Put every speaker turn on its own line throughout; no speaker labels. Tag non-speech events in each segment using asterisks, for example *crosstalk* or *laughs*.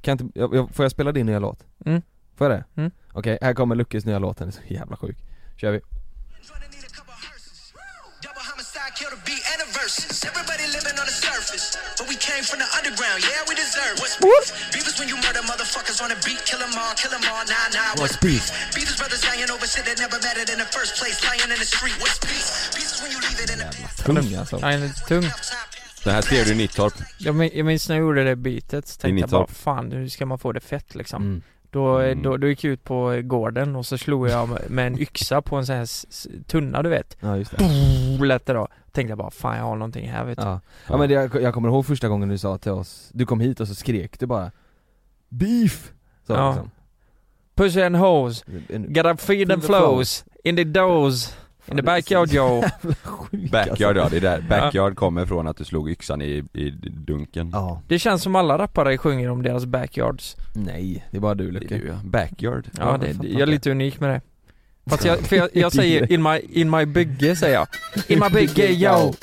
Kan inte, jag, jag, får jag spela din nya låt?
Mm.
Får jag det?
Mm.
Okej, här kommer Luckes nya låt, den är så jävla sjuk. Kör vi.
Double homicide, kill the beat, and a versus. Everybody living on the surface, but we came from the underground. Yeah, we deserve what's beef. Beef is when you murder motherfuckers on the beat, kill 'em all, kill 'em all. Nah, nah, what's beef? Beef is brothers dying over shit that never mattered in the first place, lying in the street. What's beef? Beef is when you leave it in the past.
Tung alltså.
Nej, den är tung.
Det här skrev du i Nittorp.
Jag, min, jag minns när jag gjorde det bitet, så tänkte jag
Initial.
bara fan hur ska man få det fett liksom?
Mm.
Då,
Mm.
då, då gick jag ut på gården och så slog jag med en yxa på en sån här s- s- tunna du vet,
Ja just det.
Och lät det då. Tänkte jag bara fan jag har någonting här vet du.
Ja. ja men det, jag, jag kommer ihåg första gången du sa till oss, du kom hit och så skrek du bara Beef! Så
Ja.
liksom.
Puss and hose,
En,
gotta feed them
the
flows, in the doors, in the backyard yo.
sjuk,
Backyard ja,
alltså.
det är där. Backyard kommer från att du slog yxan i, i dunken.
Ja,
Det känns som alla rappare sjunger om deras backyards.
nej, det är bara du
Det är
Lucke.
du, ja. Backyard.
Ja,
jag
det,
fattar
jag är
inte.
lite unik med det. Fast jag, för jag,
*laughs*
jag säger in my, in my bygge säger jag. In my bygge yo.
Nej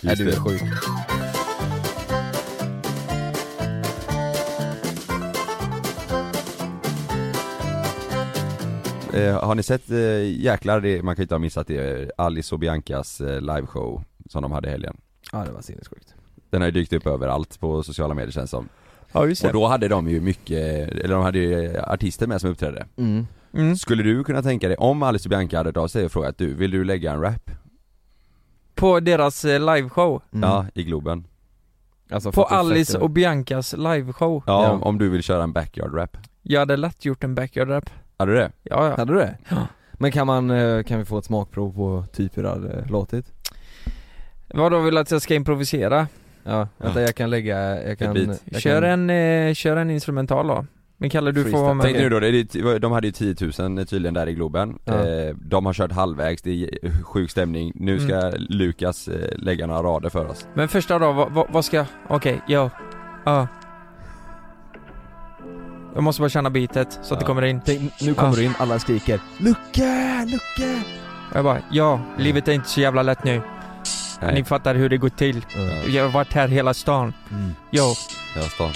Just
du är
det.
sjuk.
Eh, har ni sett, eh, jäklar, det, man kan ju inte ha missat det, eh, Alice och Biancas eh, liveshow som de hade i helgen.
Ja det var sinnessjukt.
Den har ju dykt upp överallt på sociala medier känns som.
Ja just
Och då hade de ju mycket, eller de hade ju eh, artister med som uppträdde.
Mm.
Mm.
Skulle du kunna tänka dig, om Alice och Bianca hade tagit sig och frågat du, vill du lägga en rap?
På deras eh, liveshow.
Mm.
Ja, i Globen.
Alltså,
På
fattar
Alice
inte.
och Biancas liveshow.
Ja,
Ja.
Om, om du vill köra en backyard-rap.
Jag hade lätt gjort en backyard-rap.
Hade du det?
Ja, ja.
Hade du det?
Ja.
Men kan man, eh, kan vi få ett smakprov på typ hur det hade låtit?
Vadå vill att jag ska improvisera?
Ja, vänta jag kan lägga, jag kan...
beat.
Jag
Kör
kan...
en, eh, kör en instrumental då. Men Kalle du får vara med.
Tänk nu då, det är, de hade ju 10 000 tydligen där i Globen.
Ja.
Eh, de har kört halvvägs, det är sjuk stämning. Nu ska
Mm.
Lukas eh, lägga några rader för oss.
Men första då, vad, vad, vad ska jag? Okej, yo. Ja. Jag måste bara känna bitet så att det
Ja.
kommer in.
Tänk, nu kommer
Ja.
du in, alla skriker 'Lucke! Lucke!'
Jag bara, ja, livet är inte så jävla lätt nu.
Nej.
Ni fattar hur det går till. Jag har varit här hela stan.
Mm.
Yo,
Jag står.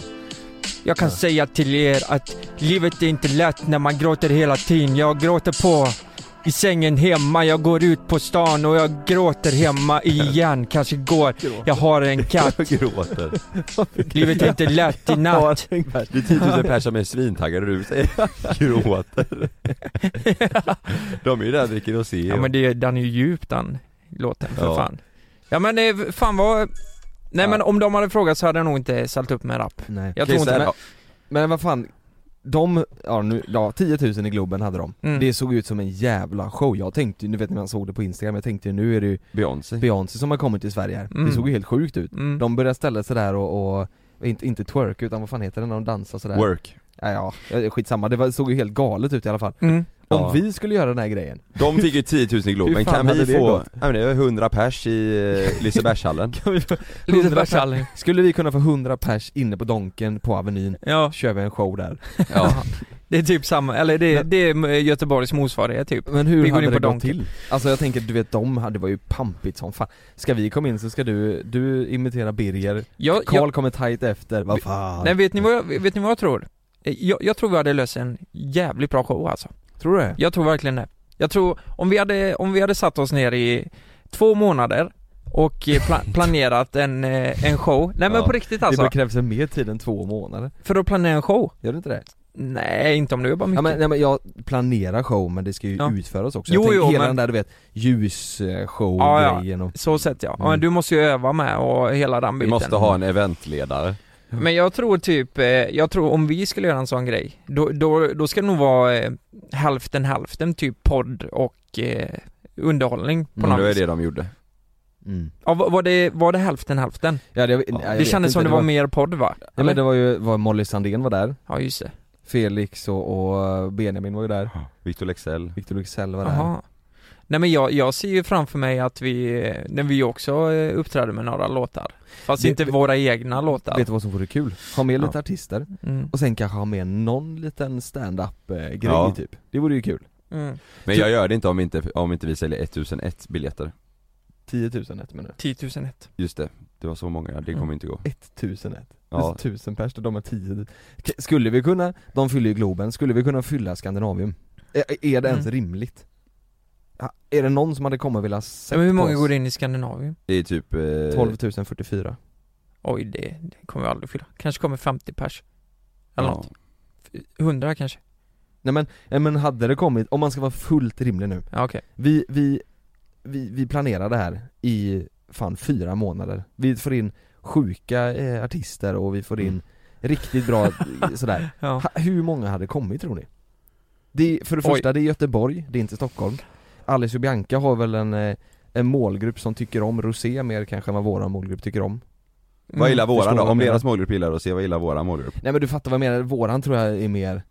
jag kan säga till er att livet är inte lätt när man gråter hela tiden. Jag gråter på i sängen hemma, jag går ut på stan och jag gråter hemma igen. Kanske går. Jag har
*laughs*
en katt.
Jag *laughs* gråter.
Livet är inte lätt i natt.
Det är 10 000 personer som är svintaggade och du säger *laughs*
*laughs*
gråter. De är ju där och dricker och ser.
Ja men det, den är ju djup den låten för
Ja.
fan. Ja men eh, fan vad... Nej
Ja.
men om de hade frågat så hade jag nog inte ställt upp med en rap.
Nej.
Jag tror
Okej, så
inte...
här
Men,
då.
Men vad fan, de, ja nu, ja 10 000 i Globen hade de.
Mm.
Det såg ut som en jävla show, jag tänkte ju, nu vet ni när man såg det på Instagram, jag tänkte ju nu är det ju
Beyoncé.
Beyoncé som har kommit till Sverige här. Det
Mm.
såg ju helt sjukt ut.
mm.
De började ställa sig där och, och inte, inte twerk utan vad fan heter det när de dansar sådär?
Work.
Ja, ja, ja, skitsamma, det var, såg ju helt galet ut i alla fall.
Mm.
Om
Ja.
vi skulle göra den här grejen,
De fick ju 10 000 i
Hur
Globen,
fan
kan vi
hade det
få,
gått?
nej men det är 100 pers i eh, Lisebergshallen.
*laughs* Liseberg
Hundra per-
Challe.
skulle vi kunna få 100 pers inne på Donken på Avenyn,
Ja,
kör vi en show där.
ja.
det är typ samma, eller det,
Men-
det är Göteborgs motsvarighet typ.
Men hur
Vi går
hade
in
det
på
gått
Donken.
till? Alltså jag tänker, du vet de hade, det var ju pampigt som fan. Ska vi komma in så ska du, du imitera Birger,
Jag, jag,
Karl kommer tajt efter, vad fan?
nej vet ni vad jag, vet ni vad jag tror? Eh, Jag, jag tror vi hade löst en jävligt bra show alltså.
Tror du det?
Jag tror verkligen det. Jag tror, om vi hade, om vi hade satt oss ner i två månader och eh,
*laughs*
pla- planerat en, eh, en show. Nej men
Ja.
på riktigt
Det
alltså.
bara krävs mer tid än två månader,
För att planera en show.
gör det inte det?
Nej, inte om du jobbar mycket.
Ja, men, nej, men jag planerar show men det ska ju
Ja.
utföras också.
Jo,
Jag tänker
jo,
hela den
men-
där du vet, ljusshow
Ja, ja.
grejen och...
Så sett ja. ja.
Mm.
men Du måste ju öva med och hela den
Vi
biten.
måste ha en eventledare.
Men jag tror typ, eh, jag tror om vi skulle göra en sån grej, då, då, då ska det nog vara eh, hälften hälften typ podd och eh, underhållning på
Men
något
det var
vis.
det de gjorde.
Mm.
Ja, var var det, var det hälften hälften?
Ja, det, jag,
Det
jag
det
vet
kändes som
inte,
det var, mer podd va?
Ja, men
Eller?
det var ju, var Molly Sandén var där,
Ja just det.
Felix och, och Benjamin var ju där,
Victor Lexell.
Victor Luxell var där
Jaha. Nej men jag, jag ser ju framför mig att vi, eh, när vi också eh, uppträder med några låtar. Fast
Det-
inte våra egna låtar.
Vet du vad som vore kul? Ha med lite
Ja.
artister,
Mm.
och sen kanske ha med någon liten stand-up eh, grej
Ja.
typ Det vore ju kul
Mm.
Men jag gör det inte om inte, om inte vi säljer 1001 biljetter.
10 000 ett minut
10 001.
Just det, det var så många, det kommer
Mm.
inte gå.
1000 ett, ja.
Ja.
1000 pers, de har 10 K- Skulle vi kunna, de fyller ju Globen, skulle vi kunna fylla Skandinavium? Är, är det ens
Mm.
rimligt? Ja, Är det någon som hade kommit och velat sett
Men hur
på
många
oss?
går in i Skandinavien?
Det är typ... Eh,
12 044
Oj, det, det kommer vi aldrig fylla. Kanske kommer 50 pers. Eller något.
ja.
100 kanske.
Nej men, nej, men hade det kommit, om man ska vara fullt rimlig nu
Ja, okej.
Vi, vi, vi, vi planerar det här i fan fyra månader. Vi får in sjuka eh, artister och vi får in
Mm.
riktigt
*laughs*
bra eh, sådär.
Ja.
Ha, hur många hade kommit tror ni? Det är, för det
Oj.
första, det är Göteborg, det är inte Stockholm. Alice och Bianca har väl en, eh, en målgrupp som tycker om rosé mer kanske än vad våran målgrupp tycker om.
Mm.
Vad gillar
förstår
våran då?
vad jag
Om
menar.
deras målgrupp gillar det, se vad gillar våran målgrupp?
Nej men du fattar vad jag menar, våran tror jag är mer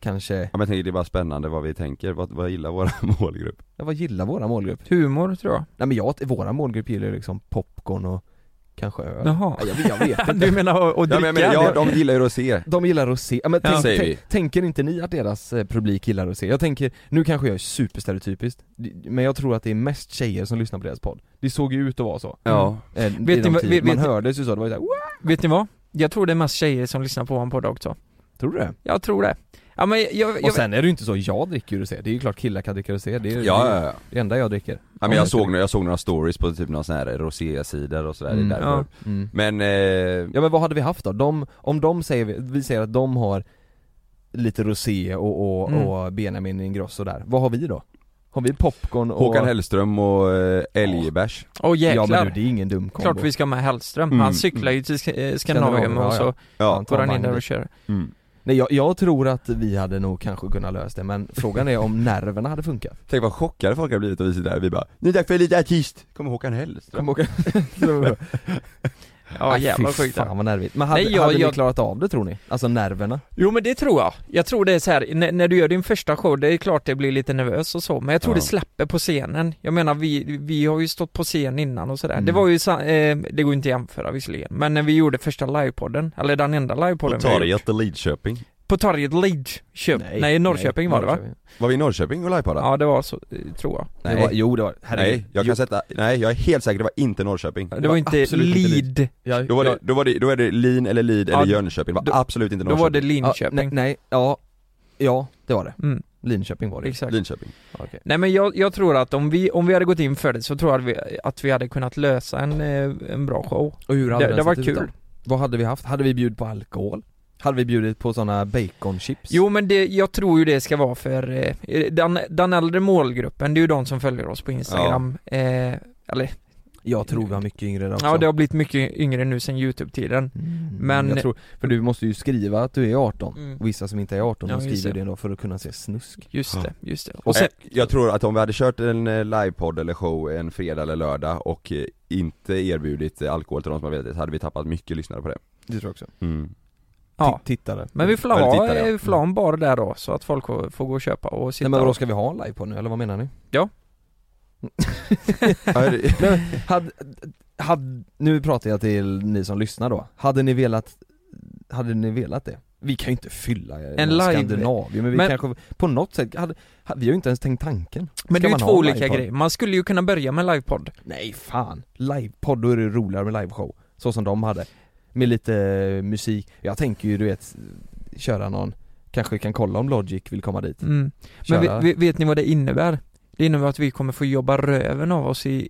kanske,
Ja men jag tänker det är bara spännande vad vi tänker, vad, vad gillar våra *laughs* målgrupp?
ja, vad gillar våran målgrupp?
*laughs* Humor tror jag.
Nej men jag, våran målgrupp gillar ju liksom popcorn och kanske öl.
Jaha.
Ja, Jag, vet- jag
*laughs*
vet inte. Mm.
Du menar att- att
Ja
dricka?
men, men ja, de gillar ju rosé.
De gillar rosé, ja, men
Ja.
tänk,
Säger
tänk-
vi.
tänker inte ni att deras eh, publik gillar rosé? Jag tänker, nu kanske jag är superstereotypiskt, men jag tror att det är mest tjejer som lyssnar på deras podd Det såg ju ut att vara så,
Ja.
eh,
ni
vet de
vad-
tid-
vet-
man
vet-
hördes ju så, det var ju såhär, "Wow!"
Vet ni vad? Jag tror det är mest tjejer som lyssnar på vår podd också.
tror du det?
Jag tror det. Ja men jag, jag,
Och
jag
sen är det ju inte så, jag dricker ju rosé, det är ju klart killar kan dricka rosé, det är
Ja,
ju
ja, ja.
det enda jag dricker
ja men jag såg, några- jag såg några stories på typ några sån här rosé-sidor och sådär,
Mm,
det är därför.
ja.
mm.
Men, eh,
Ja men vad hade vi haft då? De, om de säger, vi- vi säger att de har lite rosé och, och,
Mm.
och Benjamin Ingrosso där, vad har vi då? Har vi popcorn och..
Håkan Hellström och eh, älgbärs.
Åh
Ja men
jäklar.
du, det är ingen dum kombo
Klart vi ska med Hellström.
Mm.
Han cyklar ju till Sk- eh, Skandinavien
Skandinavien,
och
ja,
så
Ja.
går han in där och kör.
Mm.
Nej jag, jag tror att vi hade nog kanske kunnat lösa det men frågan är om nerverna hade funkat
Tänk vad chockade folk har blivit av vi sitter där, vi bara 'Nu är det dags för lite artist' Kommer Håkan Hellström?
Kom och... Ja
*laughs* Ja jävlar vad sjukt.
fan vad nervigt. Men hade,
Nej, jag-
hade ni
jag-
klarat av det tror ni? Alltså nerverna?
Jo men det tror jag. Jag tror det är så här, när, när du gör din första show, det är klart det blir lite nervös och så, men jag tror
Ja.
det släpper på scenen. Jag menar vi, vi har ju stått på scen innan och sådär.
Mm.
Det var ju, sa- eh, det går inte att jämföra visserligen, men när vi gjorde första livepodden, eller den enda livepodden vi har gjort.
i Lidköping
På torget Lidköping, nej, nej Norrköping var det va?
Norrköping.
Var vi i Norrköping och livepoddade?
Ja det var så, eh, tror jag.
Det var, jo det var
Nej, jag
Jo,
kan sätta, nej jag är helt säker, det var inte Norrköping
Det var inte
absolut inte
Lid,
jag,
Då var det,
jag-
då var det, då är det Lin eller Lid
Ja,
eller Jönköping, det var
då-
absolut inte
då var det
Norrköping
ja,
Linköping.
nej, nej, ja, ja det var det.
Mm,
Linköping var det.
exakt.
Linköping
Okej.
Nej men jag, jag tror att om vi, om vi hade gått in för det så tror jag att vi, att vi hade kunnat lösa en, eh, en bra show.
Och hur hade
Det-
den
det var
sett ut då?
kul.
Vad hade vi haft? Hade vi bjudit på alkohol? Hade vi bjudit på sådana baconchips?
Jo men det, jag tror ju det ska vara för eh, den, den äldre målgruppen, det är ju de som följer oss på Instagram eh, Eller,
Jag tror vi har mycket yngre där också.
ja det har blivit mycket yngre nu sen Youtube-tiden
Mm,
Men-
jag tror, för du måste ju skriva att du är 18
Mm.
och vissa som inte är 18
Ja,
de
just
skriver
det. Eh.
det då för att kunna se snusk
Just det, just det. Och
och
sen,
Eh, Jag tror att om vi hade kört en eh, livepodd eller show en fredag eller lördag och eh, inte erbjudit eh, alkohol till de som har velat det, så hade vi tappat mycket lyssnare på det
Det tror jag också
mm.
ja.
Tittare Mm.
Men vi får
Eller
la-
tittare, ja.
eh, vi får la en bar där då så att folk får, får gå och köpa och sitta
Nej men vadå,
och-
ska vi ha en live på nu eller vad menar ni?
Ja, är det-
*laughs* Nej, men, hade, hade, nu pratar jag till ni som lyssnar då, hade ni velat, hade ni velat det? Vi kan ju inte fylla en
live-
Skandinavien men vi
Men-
kanske, på något sätt, hade, ha- vi har ju inte ens tänkt tanken
Men det
Ska
är ju
man
två
ha en
olika
livepodd?
grejer, man skulle ju kunna börja med livepodd
Nej fan, livepodd, då är det roligare med liveshow, så som de hade Med lite eh, musik, jag tänker ju du vet, köra någon, kanske vi kan kolla om Logic vill komma dit
mm. Men
Köra.
vet, vet- vet ni vad det innebär? Det innebär att vi kommer få jobba röven av oss i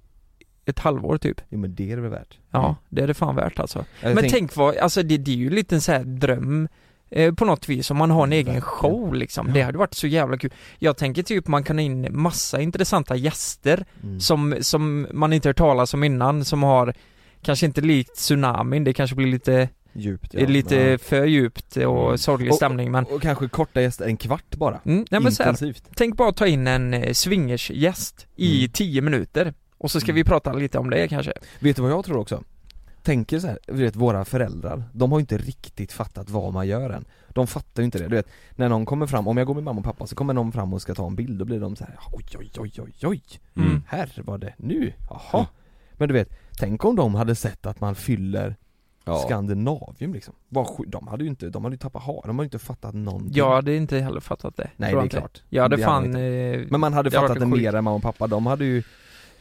ett halvår typ
Jo men det är det väl värt?
Ja, det är det fan värt alltså
Mm. Jag
men
tänk-
tänk vad, alltså det, det är ju en liten så här dröm eh, på något vis, om man
Mm,
har en egen show liksom. Det hade varit så jävla kul. Jag tänker typ man kan ha in massa intressanta gäster
Mm.
som, som man inte hört talas om innan, som har Kanske inte likt tsunamin, det kanske blir lite,
Djupt
är lite för djupt
Mm.
och sorglig
Och-
stämning men,
Och kanske korta gäster, en kvart bara.
mm, nej, men så här,
Intensivt.
Tänk bara att ta in en eh, swingersgäst i
Mm.
10 minuter och så ska vi prata lite om det kanske.
Vet du vad jag tror också? Tänker så här, du vet våra föräldrar, de har ju inte riktigt fattat vad man gör än De fattar ju inte det, du vet När någon kommer fram, om jag går med mamma och pappa så kommer någon fram och ska ta en bild, då blir de så här, oj oj oj oj oj
Mm.
Här var det nu, jaha Men du vet, tänk om de hade sett att man fyller
Ja.
Skandinavium liksom Vad sj- De hade ju inte, de hade ju tappat har, de hade ju inte fattat någonting
Jag hade inte heller fattat det.
Mm. Nej
tror
det är
jag inte.
klart
Jag hade
Det
fan...
inte.
eh,
Men man hade
det hade
fattat det
varit sjukt.
mer än mamma och pappa, de hade ju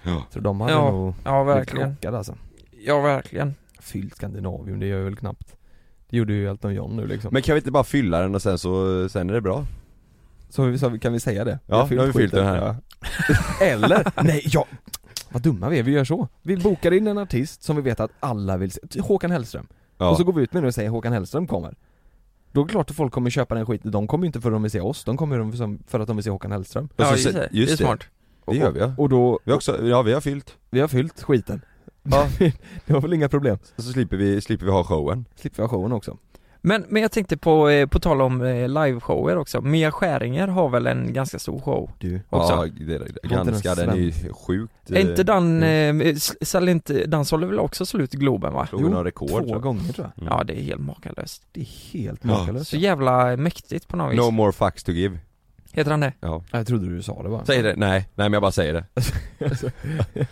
Ja.
Så de hade
Ja,
nog
Ja
blivit
verkligen.
chockade alltså
Ja verkligen.
Fyllt Skandinavium, det gör jag väl knappt Det gjorde ju Elton John nu liksom
Men kan vi inte bara fylla den och sen så, sen är det bra?
Så, så kan vi säga det?
Ja, nu har vi fyllt den här.
Ja. Eller, nej ja, vad dumma vi är, vi gör så. Vi bokar in en artist som vi vet att alla vill se, Ty- Håkan Hellström.
Ja.
Och så går vi ut med det och säger Håkan Hellström kommer. Då är det klart att folk kommer köpa den skiten, de kommer ju inte för att de vill se oss, de kommer ju som- för att de vill se Håkan Hellström.
Och
Ja,
så
just
se-
det.
just
det är
det.
smart.
det gör vi ja.
Och då,
Vi har också, ja vi har fyllt.
vi har fyllt skiten.
Ja.
*laughs* det var väl inga problem.
Så slipper vi, slipper vi ha showen.
Slipper vi ha showen också.
Men, men jag tänkte på, eh, på tal om eh, liveshower också. Mia Skäringer har väl en ganska stor show
Du,
också?
Ja, det, det,
Var inte
ganska,
den
den är ju sjukt...
Är inte den,
eh,
eh, s- säljer inte, den sålde väl också slut Globen va?
Slog
Jo,
några rekord
två
tror jag.
gånger tror jag.
Mm.
Ja det är helt makalöst.
Det är helt
Ja.
makalöst.
Så jävla mäktigt på något vis.
No more fucks to give.
Heter han det?
Ja.
Jag trodde du sa det bara. *laughs* Alltså.
Säg det, nej, nej men jag bara säger det.
Jag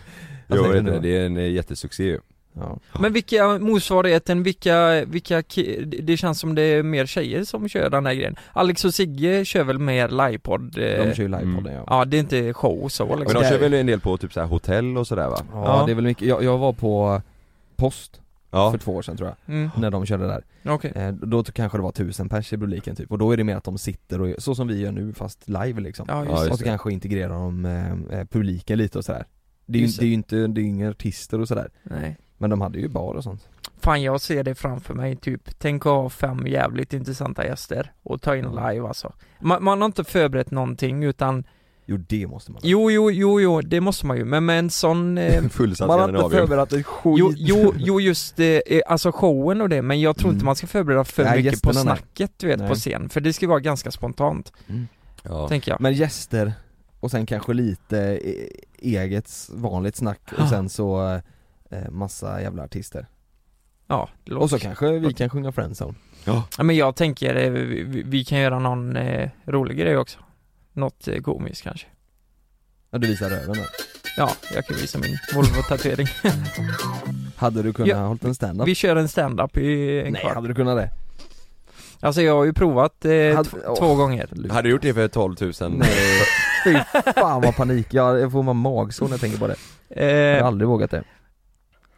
Jo,
säger det
det,
nu.
det är en eh, jättesuccé ju.
Ja.
Men vilka motsvarigheten, vilka, vilka, ki- det- det känns som det är mer tjejer som kör den här grejen Alex och Sigge kör väl mer livepodd? eh,
De kör ju
Mm.
livepodden ja.
Ja det är inte show så
Men
liksom.
de
där-
kör väl en del på typ så här hotell och sådär va?
Ja,
Ja.
det är väl mycket, jag, jag var på post
Ja,
för två år sedan tror jag,
Mm,
när de körde där.
okej,
Eh, då t- kanske det var tusen pers i publiken typ, och då är det mer att de sitter och, så som vi gör nu fast live liksom.
ja
Ja,
just
och så
just det.
kanske integrerar de eh, eh, publiken lite och sådär. Det är ju
Just det.
det är ju inte, det är ju inga artister och sådär.
det, nej
Men de hade ju bar och sånt.
Fan jag ser det framför mig typ, tänk att ha fem jävligt intressanta gäster och ta in live alltså Man, man har inte förberett någonting utan,
Jo det måste man
jo jo jo jo det måste man ju, men med en sån eh,
fullsatt
Man har inte
Skandinavium.
förberett ett skit.
Jo, jo,
*laughs*
jo just eh, eh, alltså showen och det, men jag tror inte
Mm.
man ska förbereda för
Nej,
mycket på
gästerna, nej.
snacket du vet på
Nej.
scen, för det ska vara ganska spontant,
Ja.
tänker jag.
Men gäster, och sen kanske lite eh, eget vanligt snack
Ah.
och sen så eh, massa jävla artister.
ja, det låter.
Och så kanske vi kan sjunga Friendzone.
Ja, men jag tänker, eh, vi, vi- vi kan göra någon eh, rolig grej också. Något eh, komiskt kanske.
Ja du visar röven där.
Ja, jag kan visa min Volvo-tatuering.
Hade du kunnat
Ja,
hållit en stand-up?
vi kör en stand-up i en
Nej,
kvart.
hade du kunnat det?
Alltså jag har ju provat eh,
Hade-
tv-
åh.
två gånger.
Hade du gjort det för 12 000?
Nej. Fy fan vad panik, jag, jag får man magsår när jag tänker på det. Jag har
Eh,
aldrig vågat det.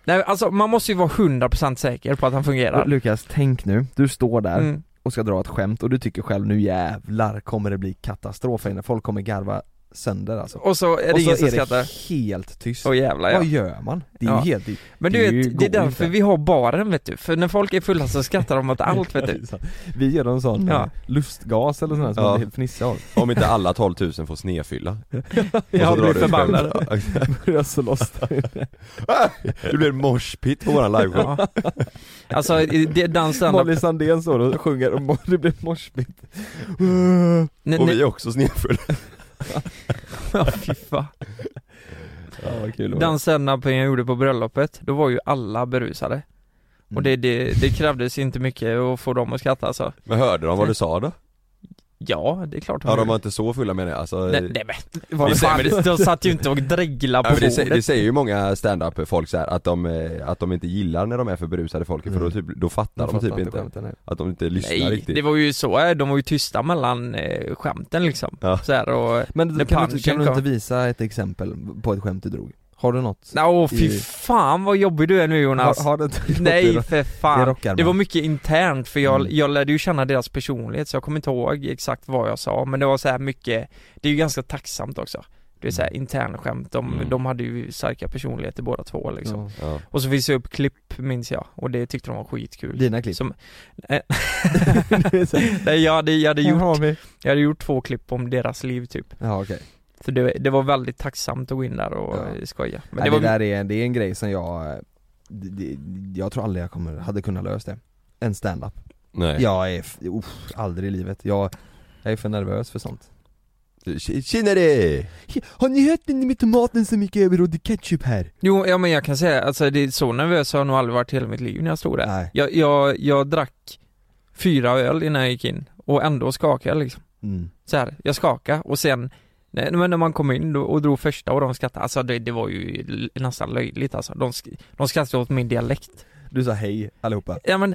nej, alltså man måste ju vara 100% säker på att han fungerar.
Lukas, tänk nu, du står där
Mm.
och ska dra ett skämt och du tycker själv nu jävlar kommer det bli katastrof här inne, folk kommer garva sönder alltså.
Och så är det
och så
ingen som
är
skrattar.
det helt tyst.
Åh jävlar ja.
Vad gör man? Det är
Ja.
ju helt... Det,
Men
Det
du
ju
vet, det är
går
därför
inte.
vi har baren vet du, för när folk är fulla så skrattar de åt allt vet du
Vi gör en sån
Ja.
eh, lustgas eller sån här som
Ja.
man blir
*laughs*
fnissar av.
*laughs* Om inte alla 12 000 får snefylla.
Jag
Och så drar
blir
du ett skämt.
förbannad
*laughs*
Börjar slåss
*laughs*
där inne.
Det blir en moshpit på våran liveshow.
ja. Alltså det är den standup,
*laughs* Molly Sandén står och sjunger och mo- det blir morsbitt.
nej,
Och
nej,
vi är också snefulla.
*laughs* ja, fy fan.
Ja, vad kul det var.
Den standupen jag gjorde på bröllopet, då var ju alla berusade
Mm.
Och
Mm.
det, det, det krävdes inte mycket att få dem att skratta alltså
Men hörde de vad du sa då?
Ja, det är klart
Ja de var
gjorde.
inte så fulla menar jag, alltså,
Mm. Nej, nej
Var
men, vad
det-
fan,
men det-
de satt ju inte och dreglade
Ja,
på
men det, säger, det
bordet
säger ju många stand-up folk så här, att de, eh, att de inte gillar när de är för berusade folk för då,
Mm.
typ, då fattar
Jag
de,
fattar
typ inte,
skämten här.
att de inte lyssnar
Nej,
riktigt
det var ju så, eh, de var ju tysta mellan eh, skämten liksom
Ja.
så här, och
Men
När
kan, du,
punchen
kan du
kom.
inte visa ett exempel på ett skämt du drog? Har du något?
Nej, Åh fy
I-
fan vad jobbig du är nu Jonas
har, har du inte något i
*laughs*
*laughs*
Nej
rock-
för
i
fan
rockarmen?
Det var mycket internt för jag,
Mm.
jag lärde ju känna deras personlighet så jag kommer inte ihåg exakt vad jag sa men det var så här mycket Det är ju ganska tacksamt också Det är såhär internskämt, de,
Mm.
de hade ju starka personligheter båda två liksom
Ja.
Ja.
Och så visade jag upp klipp minns jag, och det tyckte de var skitkul
Dina klipp?
Som, eh, *laughs* Nej jag hade, jag, hade
Här
gjort,
har vi.
jag hade gjort två klipp om deras liv typ
Ja okej.
För det, det var väldigt tacksamt att gå in där och
Ja.
eh, skoja
Men det, där är, det är en grej som jag, eh, det, det, jag tror aldrig jag kommer, hade kunnat lösa det. En stand-up.
Nej.
Jag är, f- uff, aldrig i livet. Jag, jag är för nervös för sånt.
Tj- Tjenare!
Har ni hört med tomaten så mycket överrådig ketchup här?
Jo, ja men jag kan säga, alltså det är så nervös har jag nog aldrig varit hela mitt liv när jag stod där
Nej.
jag, jag, jag drack fyra öl innan jag gick in, och ändå skakade jag liksom
Mm.
så här, jag skakade och sen Nej, men när man kom in då- och drog första och de skrattade, alltså det, det var ju l- nästan löjligt alltså. De, sk- de skrattade åt min dialekt.
Du sa hej allihopa.
Ja men,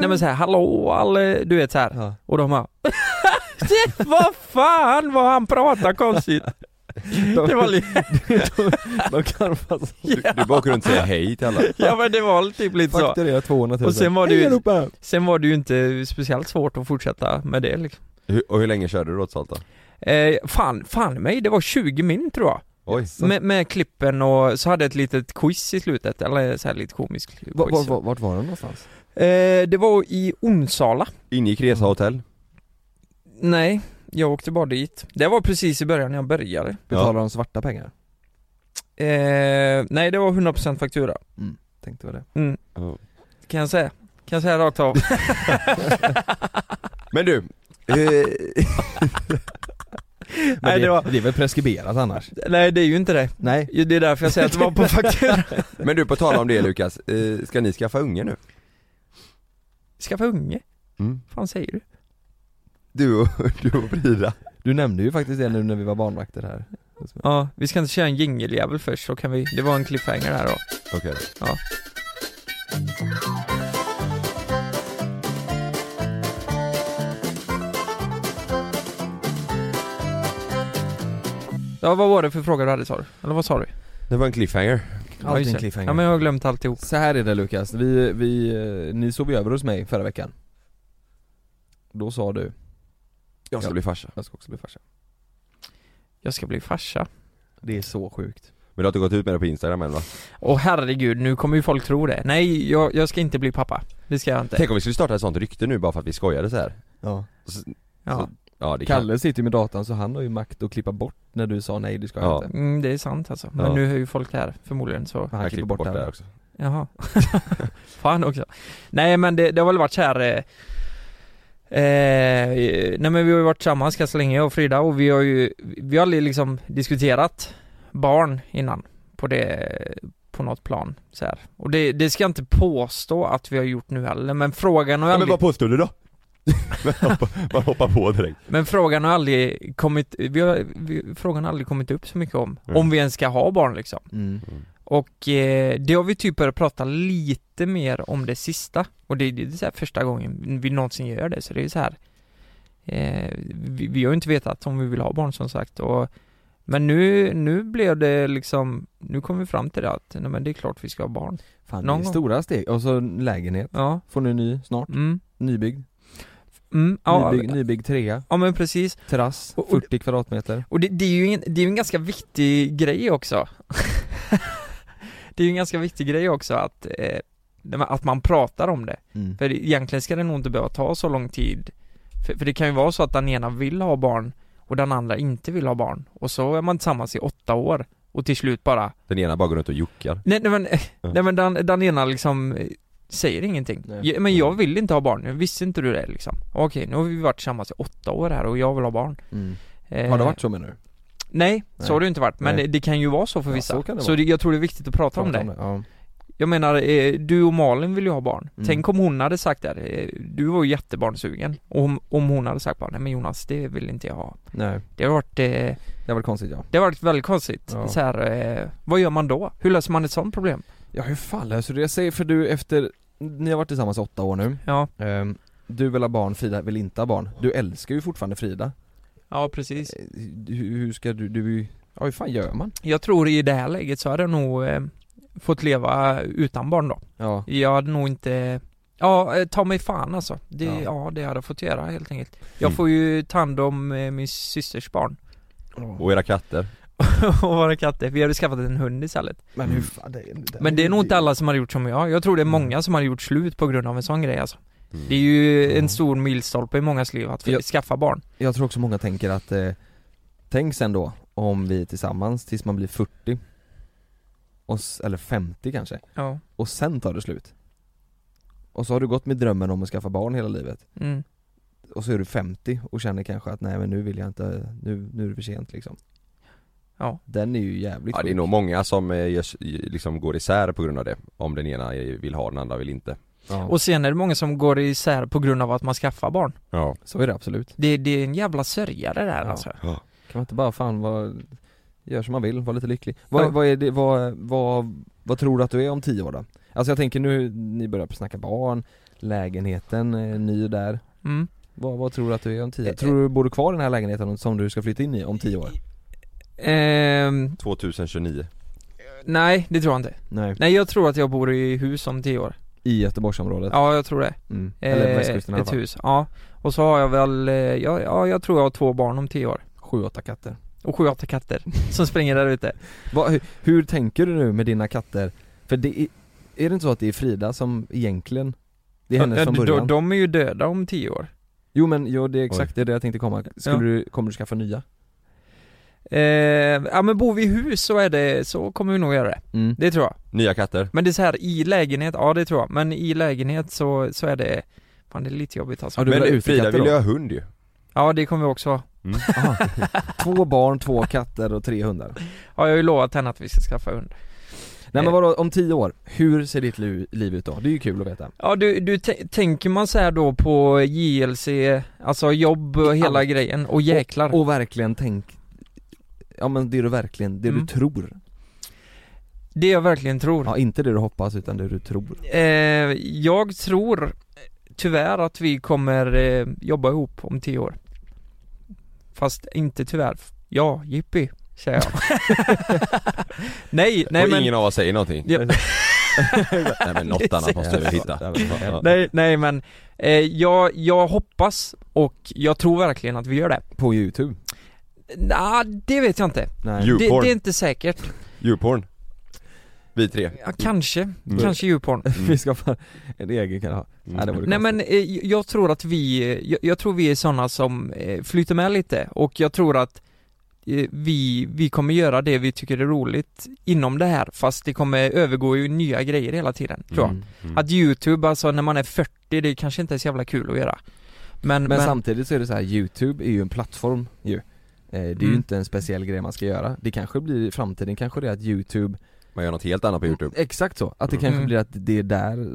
nej men såhär, hallå alle, du vet såhär.
Ja.
Och de bara *laughs* "Det- Vad fan vad han pratar konstigt! Det var lite,
*laughs* De karvas.
Du, du bara åker runt och säger hej till alla.
*laughs* ja men det var typ lite så.
Fakturera 200 000.
Och sen var det
Hej
ju-
allihopa!
Sen var det ju inte speciellt svårt att fortsätta med det liksom.
Hur, och hur länge körde du då totalt då?
Eh, fan, fan mig, det var 20 min tror jag.
Oj.
Med, med klippen och så hade jag ett litet quiz i slutet, eller så här lite komiskt quiz.
Va, va, va, vart var de någonstans?
Eh, det var i Onsala.
Ingick Resa hotell?
Nej, jag åkte bara dit. Det var precis i början när jag började.
Betalade de svarta pengar?
Eh, nej, det var 100% faktura.
Tänkte väl det.
Mm.
Ja.
Kan jag säga. Kan jag säga
*laughs*
rakt av.
Men du, *laughs* eh,
Men
Nej,
det,
det var-
det är väl preskriberat annars?
nej, det är ju inte det.
Nej.
Det är därför jag säger att det
*laughs*
var på faktura.
eh, *laughs* men du på tal om det Lukas, eh, ska ni skaffa unge nu?
Skaffa unge?
Mm.
Vad fan säger du?
Du och, *laughs* du och Frida?
Du nämnde ju faktiskt det nu när vi var barnvakter här.
Ja, vi ska inte köra en jingeljävel först så kan vi, det var en cliffhanger där då.
Okej.
Ja. Ja, vad var det för fråga du hade sa du? Eller vad sa du?
Det var en cliffhanger.
ja, just det. Ja men jag har glömt alltihop.
Så här är det Lukas, vi, vi, eh, ni sov ju över hos mig förra veckan Då sa du,
Jag ska
Ja.
bli farsa.
jag ska också bli farsa
Jag ska bli farsa.
Det är så sjukt
Men du har inte gått ut med det på Instagram än va?
Åh herregud, nu kommer ju folk tro det. Nej, jag, jag ska inte bli pappa. Det ska jag inte.
Tänk om vi skulle starta ett sånt rykte nu bara för att vi skojade så här.
Ja
Ja.
Ja det kan.
Kalle sitter ju med datan så han har ju makt att klippa bort när du sa nej du ska
Ja.
inte
Mm, det är sant alltså. Men
Ja.
nu är ju folk här förmodligen så.
Han
Jag
klipper bort, det här
också.
Jaha. *laughs* Fan också. Nej men det, det har väl varit så här. Eh, eh, nej men vi har ju varit tillsammans ganska länge jag och Frida och vi har ju, vi har aldrig liksom diskuterat barn innan på det, på något plan så här. Och det, det ska jag inte påstå att vi har gjort nu heller men frågan har
Ja,
aldrig,
men
men,
vad påstår du *laughs* då? man, hoppar, man hoppar på direkt.
frågan har aldrig kommit, vi har, vi, frågan har aldrig kommit upp så mycket om,
Mm.
om vi ens ska ha barn liksom.
mm.
Och eh, det har vi typ börjat prata lite mer om det sista Och det, det är så här första gången vi någonsin gör det så det är så här eh, vi, vi har ju inte vetat om vi vill ha barn som sagt och Men nu, nu blev det liksom Nu kom vi fram till det att nej, men det är klart vi ska ha barn
Fan
Någon
det är
gång.
stora steg, och så lägenhet,
Ja,
får ni ny snart,
mm,
nybyggd,
mm, ja,
nybyggd, nybyggd trea,
ja men precis
terrass,
Och- och-
40 kvadratmeter
Och det, det är ju en, det är ju en ganska viktig grej också *laughs* Det är ju en ganska viktig grej också att eh, Att man pratar om det
mm.
För egentligen ska det nog inte behöva ta så lång tid för, för det kan ju vara så att den ena vill ha barn och den andra inte vill ha barn Och så är man tillsammans i åtta år och till slut bara
Den ena bara går runt och juckar.
Nej, nej men, nej, men den, den ena liksom eh, säger ingenting
Nej.
"Ja, Men jag vill inte ha barn, visste inte du det liksom? Okej, nu har vi varit tillsammans i åtta år här och jag vill ha barn
Mm.
Eh,
Har det varit så menar du?
Nej,
Nej.
så har det ju inte varit, men
Nej.
det, det kan ju vara så för
Ja,
vissa
så kan det
Så
vara.
det, jag tror det är viktigt att prata om det
Ja.
jag menar, eh, du och Malin vill ju ha barn.
Mm.
Tänk om hon hade sagt där, eh, du var ju jättebarnsugen. Och om, om hon hade sagt bara, nej men Jonas, det vill inte jag ha.
Nej,
Det har varit, eh,
det var konstigt ja
det har varit väldigt konstigt.
Ja.
Så här, eh, vad gör man då? Hur löser man ett sånt problem?
Ja hur fan löser du det? Jag säger för du efter, ni har varit tillsammans åtta år nu
Ja,
Ehm, Du vill ha barn, Frida vill inte ha barn. Du älskar ju fortfarande Frida.
ja precis.
Eh, Hur, hur ska du, du, är ju- ja hur fan gör man?
Jag tror i det här läget så hade jag nog eh, fått leva utan barn då.
Ja,
Jag hade nog inte Ja, eh, ta mig fan alltså. Det,
Ja.
ja. det hade jag fått göra helt enkelt. Jag
Mm.
får ju ta hand om eh, min systers barn. *laughs*
Och era katter.
och våra katter, vi hade skaffat en hund istället
Men hur fan, det, det
Men det är nog inte alla som har gjort som jag, jag tror det är många som har gjort slut på grund av en sån grej alltså Det är ju en stor milstolpe i mångas liv att
Ja.
skaffa barn
Jag tror också många tänker att, eh, tänk sen då om vi är tillsammans tills man blir 40 och, s- Eller 50 kanske,
Ja,
och sen tar det slut Och så har du gått med drömmen om att skaffa barn hela livet
mm.
Och så är du 50 och känner kanske att nej men nu vill jag inte, nu, nu är det för sent liksom
Ja.
Den är ju jävligt
Ja det är
sjuk.
nog många som eh, görs, liksom går isär på grund av det, om den ena vill ha den andra vill inte
ja.
Och sen är det många som går isär på grund av att man skaffar barn
Ja
Så är det absolut
Det, det är en jävla sörjare det här
Ja.
alltså
Kan man inte bara fan vad, gör som man vill, var lite lycklig. Vad,
Ja.
vad, är det, vad, vad, vad tror du att du är om tio år då? Alltså jag tänker nu, ni börjar snacka barn, lägenheten är ny där.
mm.
Vad, vad tror du att du är om tio år?
Eh,
Tror du bor du kvar i den här lägenheten som du ska flytta in i om tio år?
Ehm,
2029
nej det tror jag inte
Nej.
Nej jag tror att jag bor i hus om tio år
I Göteborgsområdet?
Ja jag tror det
Mm. Eller
Eh,
västkusten i alla
Ett
fall.
hus, ja Och så har jag väl, eh, ja, ja jag tror jag har två barn om tio år
Sju, åtta katter.
Och sju,
*laughs*
åtta katter som springer där ute
Vad, hur, hur tänker du nu med dina katter? För det är, är det inte så att det är Frida som egentligen, det är hennes
Ja,
från
de-
början?
De är ju döda om tio år
Jo men jo, det är exakt det jag tänkte komma, Skulle
Ja.
du, kommer du skaffa nya?
eh, Ja men bor vi i hus så är det, så kommer vi nog göra det
Mm.
Det tror jag
Nya katter
Men det är så här i lägenhet, ja det tror jag Men i lägenhet så, så är det Fan det är lite jobbigt alltså
Ja, du vill ha
Men
utekatter
Frida vill
då?
ju ha hund ju
Ja det kommer vi också ha.
*laughs*
Två barn, två katter och tre hundar.
Ja jag har ju lovat henne att vi ska skaffa hund
Nej men vadå, om tio år, hur ser ditt liv, liv ut då? Det är ju kul att veta.
Ja du, du t- tänker man så här då på JLC, alltså jobb och hela
Allt.
grejen och jäklar
Och verkligen tänk, ja men det du verkligen, det du
Mm.
tror.
Det jag verkligen tror
Ja inte det du hoppas utan det du tror.
Eh, jag tror eh, tyvärr att vi kommer eh, jobba ihop om tio år. Fast inte tyvärr. Ja, jippi, säger jag. *laughs* nej, nej
Och
men...
ingen av oss säger någonting
Ja.
*laughs* Nej men något annat måste vi hitta
nej, nej men, eh, jag, jag hoppas och jag tror verkligen att vi gör det.
På youtube.
Nej, det vet jag inte.
Nej.
Jo.
Det,
Djurporn.
det är inte säkert.
Djurporn Vi tre
Ja, kanske,
Mm.
kanske djurporn.
*laughs* Vi skaffar en egen kanal. Nej det vore
Nej
Mm.
konstigt.
men eh, jag tror att vi, eh, jag, jag tror vi är sådana som eh, flyter med lite och jag tror att eh, vi, vi kommer göra det vi tycker är roligt inom det här fast det kommer övergå i nya grejer hela tiden tror jag.
Mm.
Att youtube alltså när man är 40 det kanske inte är så jävla kul att göra. Men,
Men,
men,
samtidigt så är det så här, youtube är ju en plattform ju. Eh, Det är ju
Mm.
inte en speciell grej man ska göra. Det kanske blir i framtiden kanske det är att youtube
Man gör något helt annat på
Mm.
youtube
Exakt så, att det kanske
Mm.
blir att det är där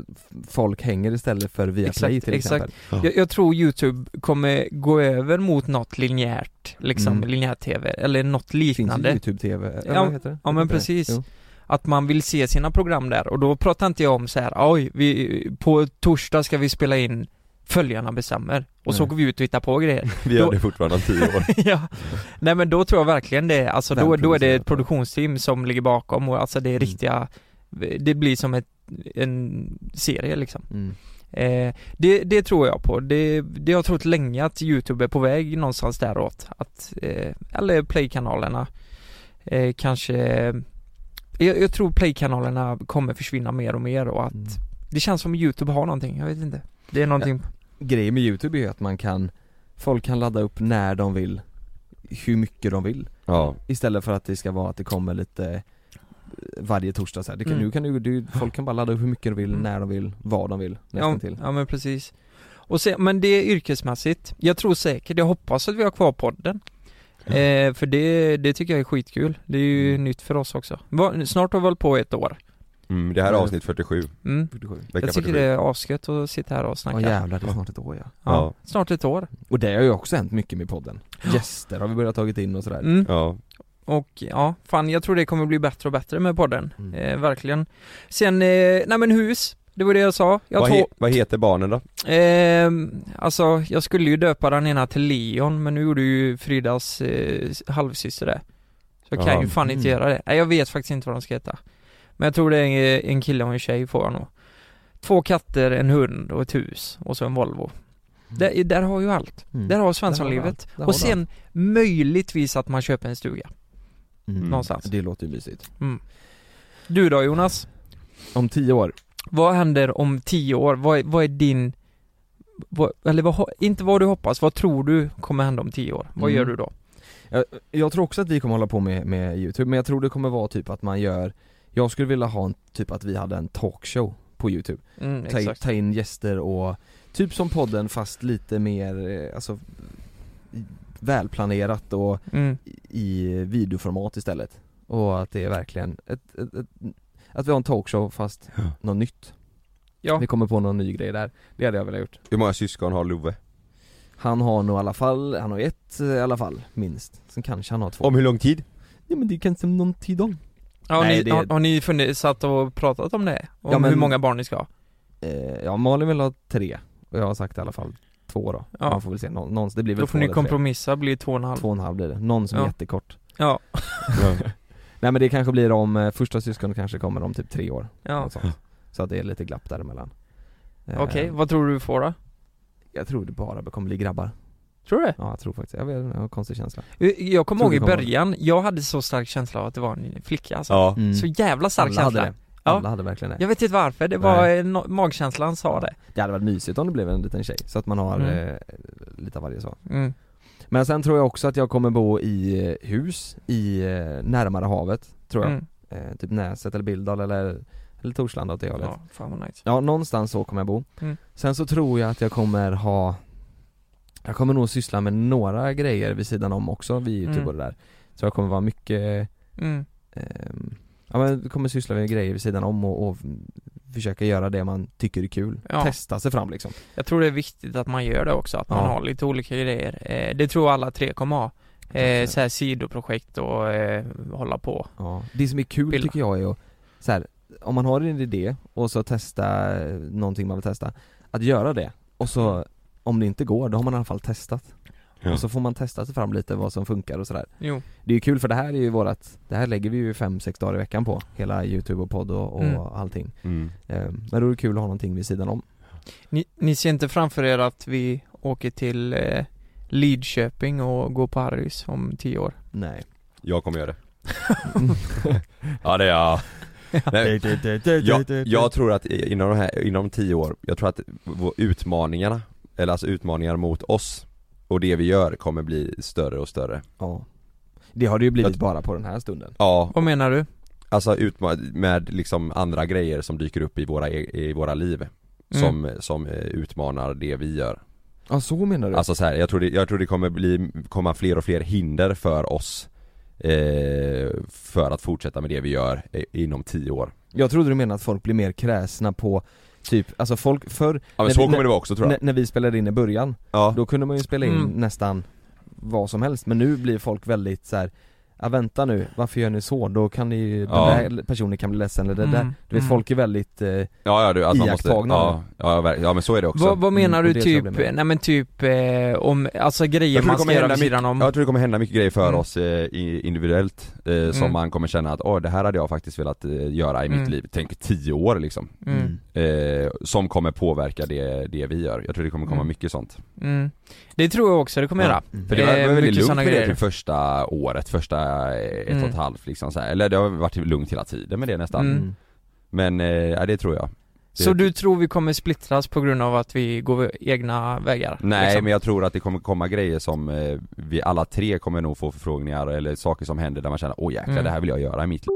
folk hänger istället för via
Exakt,
play till
exakt.
exempel.
jag, jag tror youtube kommer gå över mot något linjärt, liksom
Mm.
linjär tv eller något
Finns
liknande.
ju youtube-tv, eller
Ja,
vad heter det?
ja, men
Heter det?
precis.
Jo.
att man vill se sina program där och då pratar inte jag om så här, oj, vi, på torsdag ska vi spela in Följarna bestämmer och så
Nej.
går vi ut och hittar på grejer.
Vi gör det fortfarande om tio år
ja. Nej men då tror jag verkligen det, alltså då, då är det ett
Välproducerat.
produktionsteam som ligger bakom och alltså det är riktiga, det blir som ett, en serie liksom.
Mm.
Eh, det, det tror jag på. Det, det har jag trott länge att Youtube är på väg någonstans däråt. Att, eh, eller Play-kanalerna. Eh, kanske... Jag, jag tror Play-kanalerna kommer försvinna mer och mer och att
Mm.
det känns som Youtube har någonting, jag vet inte. Det är någonting...
Grejen med youtube är ju att man kan, folk kan ladda upp när de vill, hur mycket de vill.
Ja
Istället för att det ska vara att det kommer lite eh, varje torsdag så här. Det kan,
Mm.
nu kan du, du, folk kan bara ladda upp hur mycket de vill,
Mm.
när de vill, vad de vill,
Ja,
nästan till.
ja men precis. Och se, men det är yrkesmässigt. Jag tror säkert, jag hoppas att vi har kvar podden. Eh, för det, det tycker jag är skitkul. Det är ju
Mm.
nytt för oss också. Va, snart har vi hållit på i ett år.
mm, Det här är avsnitt 47,
Mm.
vecka
jag tycker
47
det är asgött att sitta här och snacka.
Ja jävlar, det är snart ett år ja.
Ja,
Ja.
Snart ett år.
Och det har ju också hänt mycket med podden. Gäster har vi börjat tagit in och sådär.
Mm.
Ja,
Och ja, fan jag tror det kommer bli bättre och bättre med podden.
Mm.
Eh, verkligen. Sen, eh, nej men hus. Det var det jag sa. Jag
vad,
tror,
he- vad heter barnen då?
ehm, alltså jag skulle ju döpa den ena till Leon men nu gjorde ju Fridas eh, halvsyster det. Så jag kan
Jaha.
ju fan inte
Mm.
göra det. Nej jag vet faktiskt inte vad de ska heta. Men jag tror det är en, en kille och en tjej får jag nog. Två katter, en hund och ett hus och så en Volvo. Där, där har ju allt.
Mm.
Där
Där
har
har du
Svenssonlivet.
allt. Där har
Och
du
sen möjligtvis att man köper en stuga.
Mm.
Någonstans.
Det låter ju mysigt.
Mm. Du då Jonas?
Om tio år,
Vad händer om tio år? Vad, är- vad är din... Vad, eller vad, ho- inte vad du hoppas, vad tror du kommer hända om tio år? Vad
Mm.
gör du då?
Jag, jag tror också att vi kommer hålla på med, med youtube, men jag tror det kommer vara typ att man gör Jag skulle vilja ha en, typ att vi hade en talkshow på youtube
Mm,
ta, in-
exakt.
ta in gäster och, typ som podden fast lite mer, eh, alltså i- Välplanerat och
Mm.
i videoformat istället Och att det är verkligen ett, ett, ett, Att vi har en talkshow fast något nytt
Ja.
Vi kommer på någon ny grej där, det hade jag velat gjort
Hur många syskon har Love?
Han har nog i alla fall, han har ett eh, i alla fall, minst Sen kanske han har två
Om hur lång tid?
Ja men det kanske någon tid om
Ja, har,
Nej,
ni,
det-
har, har ni funnit, satt och pratat om det? Om
Ja, men-
hur många barn ni ska ha?
Eh, ja Malin vill ha tre och jag har sagt i alla fall två då.
Ja.
Man får väl se, nå- någons, det blir väl
Då får
två
ni
eller tre.
kompromissa, blir två och en halv.
Två och en halv blir det, någon som är
Ja.
jättekort.
Ja,
Nej men det kanske blir om, eh, första syskonet kanske kommer om typ tre år.
ja.
något Sånt. Så att det är lite glapp däremellan. Eh,
okej. Vad tror du du får då?
Jag tror det bara kommer bli grabbar.
Tror du det?
Ja jag tror faktiskt, jag, vet, jag har en konstig känsla.
Jag kommer
Tror
ihåg
du
i
kommer-
början, jag hade så stark känsla av att det var en flicka alltså.
Ja.
Mm.
Så jävla stark
Alla
känsla.
hade det.
Ja.
Alla hade verkligen det.
Jag vet inte varför, det var eh, no- magkänslan sa det.
Det hade varit mysigt om det blev en liten tjej, så att man har
Mm.
eh, lite av varje så.
Mm.
Men sen tror jag också att jag kommer bo i eh, hus, i eh, närmare havet, tror jag.
Mm.
eh, typ Näset eller Bildal eller, eller Torslanda åt det hållet. Ja.
Ja, fan vad nice.
någonstans så kommer jag bo.
Mm.
Sen så tror jag att jag kommer ha Jag kommer nog syssla med några grejer vid sidan om också vid youtube
Mm.
och det där Så jag kommer vara mycket
Mm.
ehm, Ja men jag kommer syssla med grejer vid sidan om och, och försöka göra det man tycker är kul.
Ja.
Testa sig fram liksom.
Jag tror det är viktigt att man gör det också, att man
Ja.
har lite olika grejer. Eh, det tror jag alla tre kommer ha. Eh,
Kanske.
så här sidoprojekt och eh, hålla på.
Ja. Det som är kul
Bilda.
tycker jag är att så här, om man har en idé och så testa eh, någonting man vill testa, att göra det och så om det inte går, då har man i alla fall testat.
Ja.
Och så får man testa sig fram lite vad som funkar och sådär.
Jo.
Det är ju kul för det här är ju vårat, det här lägger vi ju 5-6 dagar i veckan på, hela youtube och podd och, och
Mm.
allting.
Mm.
Eh, Men då är det kul att ha någonting vid sidan om.
Ni, ni ser inte framför er att vi åker till eh, Lidköping och går på Harrys om tio år?
Nej.
Jag kommer göra det *laughs* Ja det är jag Nej, jag, jag tror att i- inom de här, inom tio år, jag tror att vår- utmaningarna, eller alltså utmaningar mot oss och det vi gör kommer bli större och större
Ja. Det har det ju blivit
Jag-
bara på den här stunden.
Ja,
Vad menar du?
alltså utma- med liksom andra grejer som dyker upp i våra, e- i våra liv
Mm.
som, som eh, utmanar det vi gör
Ja så menar du?
Alltså så här, jag tror det, jag tror det kommer bli, komma fler och fler hinder för oss eh, För att fortsätta med det vi gör eh, inom tio år
Jag trodde du menade att folk blir mer kräsna på typ, alltså folk, förr
Ja men
När
så
vi-
kommer det vara också tror
när,
jag
när vi spelade in i början,
Ja,
då kunde man ju spela in
Mm.
nästan vad som helst men nu blir folk väldigt så här. Ja vänta nu, varför gör ni så? Då kan ni ju,
Ja.
den där personen kan bli ledsen eller det där
Mm,
Du vet
mm.
folk är väldigt, eh,
ja, ja du, att man måste,
Iakttagna,
ja, ja, verk- ja men så är det också
Vad, vad menar
Mm, och
du
det tror jag
typ,
blir med.
nej men typ eh, om, alltså grejer
Jag tror det
man ska
kommer
göra
hända
vid sidan om?
Jag tror det kommer hända mycket grejer för
Mm.
oss eh, i- individuellt eh,
Mm.
som man kommer känna att åh det här hade jag faktiskt velat eh, göra i mitt
Mm.
liv, tänk 10 år liksom
Mm.
eh, Som kommer påverka det, det vi gör, jag tror det kommer komma
Mm.
mycket sånt
Mm. Det tror jag också det kommer
Ja.
göra.
Mm.
För det var, det
Eh,
var väldigt
mycket
lugnt
såna
med det
grejer.
typ första året, första eh, ett och ett
Mm.
halvt liksom så här. eller det har varit lugnt hela tiden med det
Eh,
nästan
Mm.
Men, eh, ja det tror jag Det-
Så du tror vi kommer splittras på grund av att vi går egna vägar?
Nej
liksom?
men jag tror att det kommer komma grejer som eh, vi alla tre kommer nog få förfrågningar eller saker som händer där man känner åh jäklar
Mm.
det här vill jag göra i mitt liv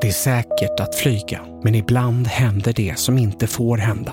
Det är säkert att flyga, men ibland händer det som inte får hända.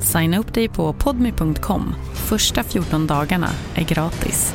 Signa upp dig på podmi.com. Första 14 dagarna är gratis.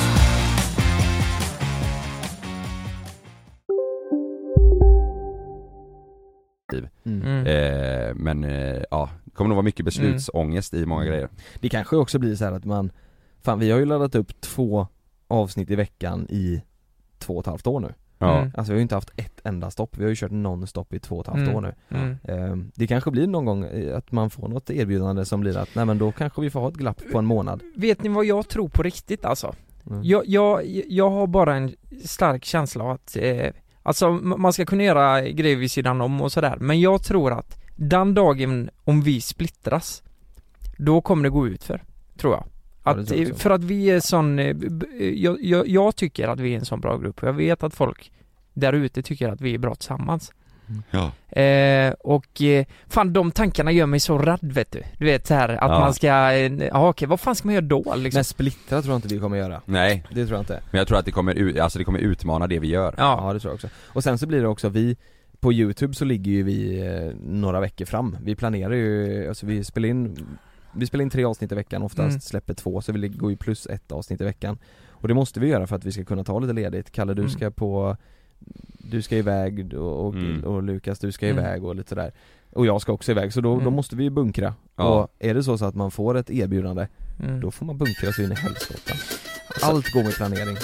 liv.
Mm.
Eh, men eh, ja, det kommer nog vara mycket beslutsångest i
Mm.
många grejer.
Det kanske också blir så här att man, fan vi har ju laddat upp två avsnitt i veckan i två och ett halvt år nu
Ja.
Mm. Alltså vi har ju inte haft ett enda stopp, vi har ju kört nonstop i två och ett halvt
Mm.
år nu
Mm.
Ehm, Det kanske blir någon gång eh, att man får något erbjudande som blir att, nej men då kanske vi får ha ett glapp på en månad Mm.
Vet ni vad jag tror på riktigt alltså? Jag, jag, jag har bara en stark känsla av att, eh, alltså m- man ska kunna göra grejer vid sidan om och sådär, men jag tror att den dagen om vi splittras, då kommer det gå ut för, tror jag.
Ja,
Att,
det tror jag
eh,
också.
för att vi är sån, eh, b- b- jag, jag, jag tycker att vi är en sån bra grupp och jag vet att folk där ute tycker att vi är bra tillsammans.
Ja.
Eh, och eh, fan de tankarna gör mig så rädd vet du. Du vet så här att
Ja.
man ska, eh, ja okej vad fan ska man göra då liksom?
Men splittra tror jag inte vi kommer göra
Nej.
Det tror jag inte
Men jag tror att det kommer, ut- alltså det kommer utmana det vi gör.
Ja. det tror jag också. Och sen så blir det också, vi på youtube så ligger ju vi eh, några veckor fram. Vi planerar ju, alltså vi spelar in vi spelar in tre avsnitt i veckan oftast,
Mm.
släpper två så vi ligger- går ju plus ett avsnitt i veckan Och det måste vi göra för att vi ska kunna ta lite ledigt, Kalle du
Mm.
ska på Du ska iväg och, och,
Mm.
och Lukas du ska
Mm.
iväg och lite sådär Och jag ska också iväg så då, då
Mm.
måste vi ju bunkra
Ja.
Och är det så, så att man får ett erbjudande
Mm.
Då får man bunkra så in i helskotta Allt går med planering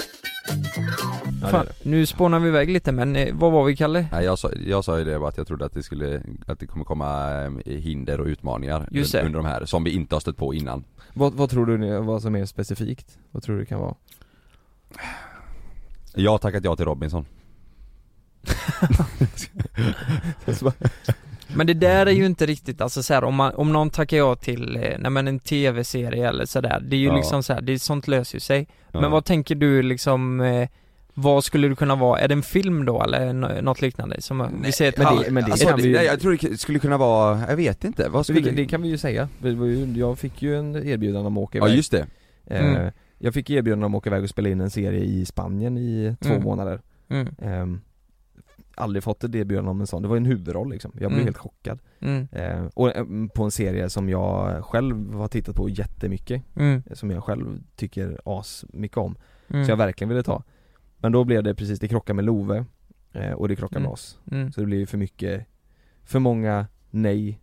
Ja, det är
Fan,
det.
nu spånar vi iväg lite men eh, vad var vi Kalle?
Nej, jag, sa, jag sa ju det bara att jag trodde att det skulle, att det kommer komma eh, hinder och utmaningar
Just det.
un- under de här, som vi inte har stött på innan.
Vad, vad tror du ni- vad som är specifikt? Vad tror du det kan vara?
Jag har tackat ja till Robinson.
Men det där är ju inte riktigt, alltså så här, om, man, om någon tackar ja till, eh, nej men en tv-serie eller sådär, det är ju
Ja.
liksom så här, det är sånt löser ju sig.
Ja.
Men vad tänker du liksom, eh, vad skulle det kunna vara, är det en film då eller nå- något liknande? Som, eh, vi säger ett
men det-
halv-
men det
alltså,
kan vi ju-
nej,
jag tror det skulle kunna vara, jag vet inte, vad skulle-
det, det kan vi ju säga, Vi var ju- jag fick ju en erbjudan om att åka
Ja,
iväg
just det.
Eh,
Mm.
Jag fick erbjudan om att åka iväg och spela in en serie i Spanien i två
Mm.
månader
Mm.
Ehm, Aldrig fått ett erbjudande om en sån, det var ju en huvudroll liksom, jag blev
Mm.
helt chockad
Mm.
Ehm, Och eh, på en serie som jag själv har tittat på jättemycket eh,
Mm.
Som jag själv tycker as mycket om
Mm.
Så jag verkligen ville ta Men då blev det precis, det krockade med Love eh, och det krockade
Mm.
med oss
Mm.
Så det blev ju för mycket, för många nej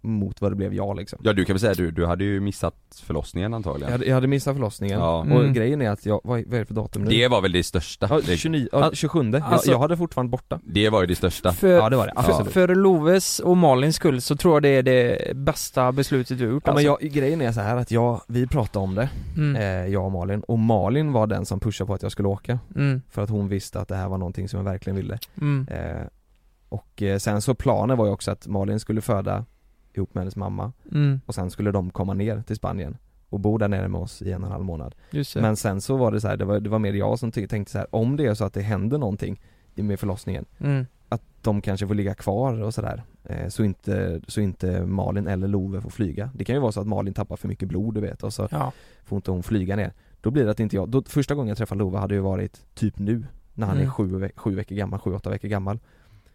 mot vad det blev ja liksom
Ja du kan väl säga, du, du hade ju missat förlossningen antagligen.
Jag hade, jag hade missat förlossningen
Ja.
och
Mm.
grejen är att jag, vad, är- vad är det för datum nu?
Det var väl det största?
Ja, 29, ja, 27,
Alltså-
jag, jag hade fortfarande borta
Det var ju det största.
För, för, för Loves och Malins skull så tror jag det är det bästa beslutet du har gjort
Ja, men
alltså.
jag, grejen är så här att jag, vi pratade om det,
Mm.
eh, jag och Malin, och Malin var den som pushade på att jag skulle åka
Mm.
För att hon visste att det här var någonting som jag verkligen ville
Mm.
eh, Och eh, sen så planen var ju också att Malin skulle föda ihop med hennes mamma
Mm.
och sen skulle de komma ner till Spanien och bo där nere med oss i en och en halv månad
Just det.
Men sen så var det så här, det var, det var mer jag som ty- tänkte så här, om det är så att det händer någonting i- med förlossningen
Mm.
Att de kanske får ligga kvar och sådär eh, så inte, så inte Malin eller Love får flyga Det kan ju vara så att Malin tappar för mycket blod du vet och så
Ja.
får inte hon flyga ner Då blir det att inte jag, då, första gången jag träffade Love hade ju varit typ nu När han är
Mm.
sju, ve- sju veckor gammal, sju, åtta veckor gammal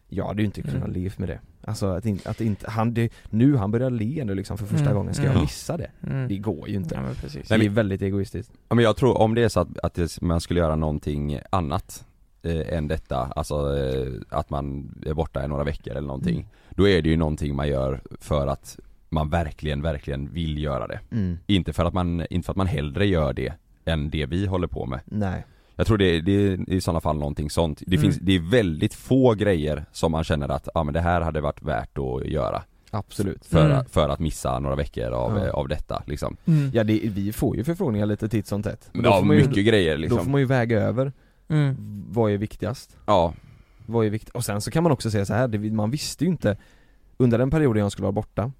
Jag hade ju inte kunnat
Mm.
leva med det Alltså att, in, att inte, han, det, nu han börjar le nu liksom för första
Mm,
gången, ska
mm.
jag missa det?
Mm.
Det går ju inte
Ja, men precis.
Det är väldigt egoistiskt
Ja, men jag tror om det är så att, att det- man skulle göra någonting annat eh, än detta, alltså eh, att man är borta i några veckor eller någonting.
Mm.
Då är det ju någonting man gör för att man verkligen, verkligen vill göra det.
Mm.
Inte, för att man, inte för att man hellre gör det än det vi håller på med.
Nej.
Jag tror det, det är i sådana fall någonting sånt. Det,
Mm.
finns, det är väldigt få grejer som man känner att ah, men det här hade varit värt att göra.
Absolut.
För,
Mm.
för att missa några veckor av,
Ja.
eh, av detta liksom.
Mm,
Ja det, vi får ju förfrågningar lite titt som tätt Men då
Ja,
får man ju-
mycket grejer, liksom.
Då får man ju väga över
Mm.
Vad är viktigast?
Ja
Vad är vikt Och sen så kan man också säga så här, det, man visste ju inte Under den perioden jag skulle vara borta,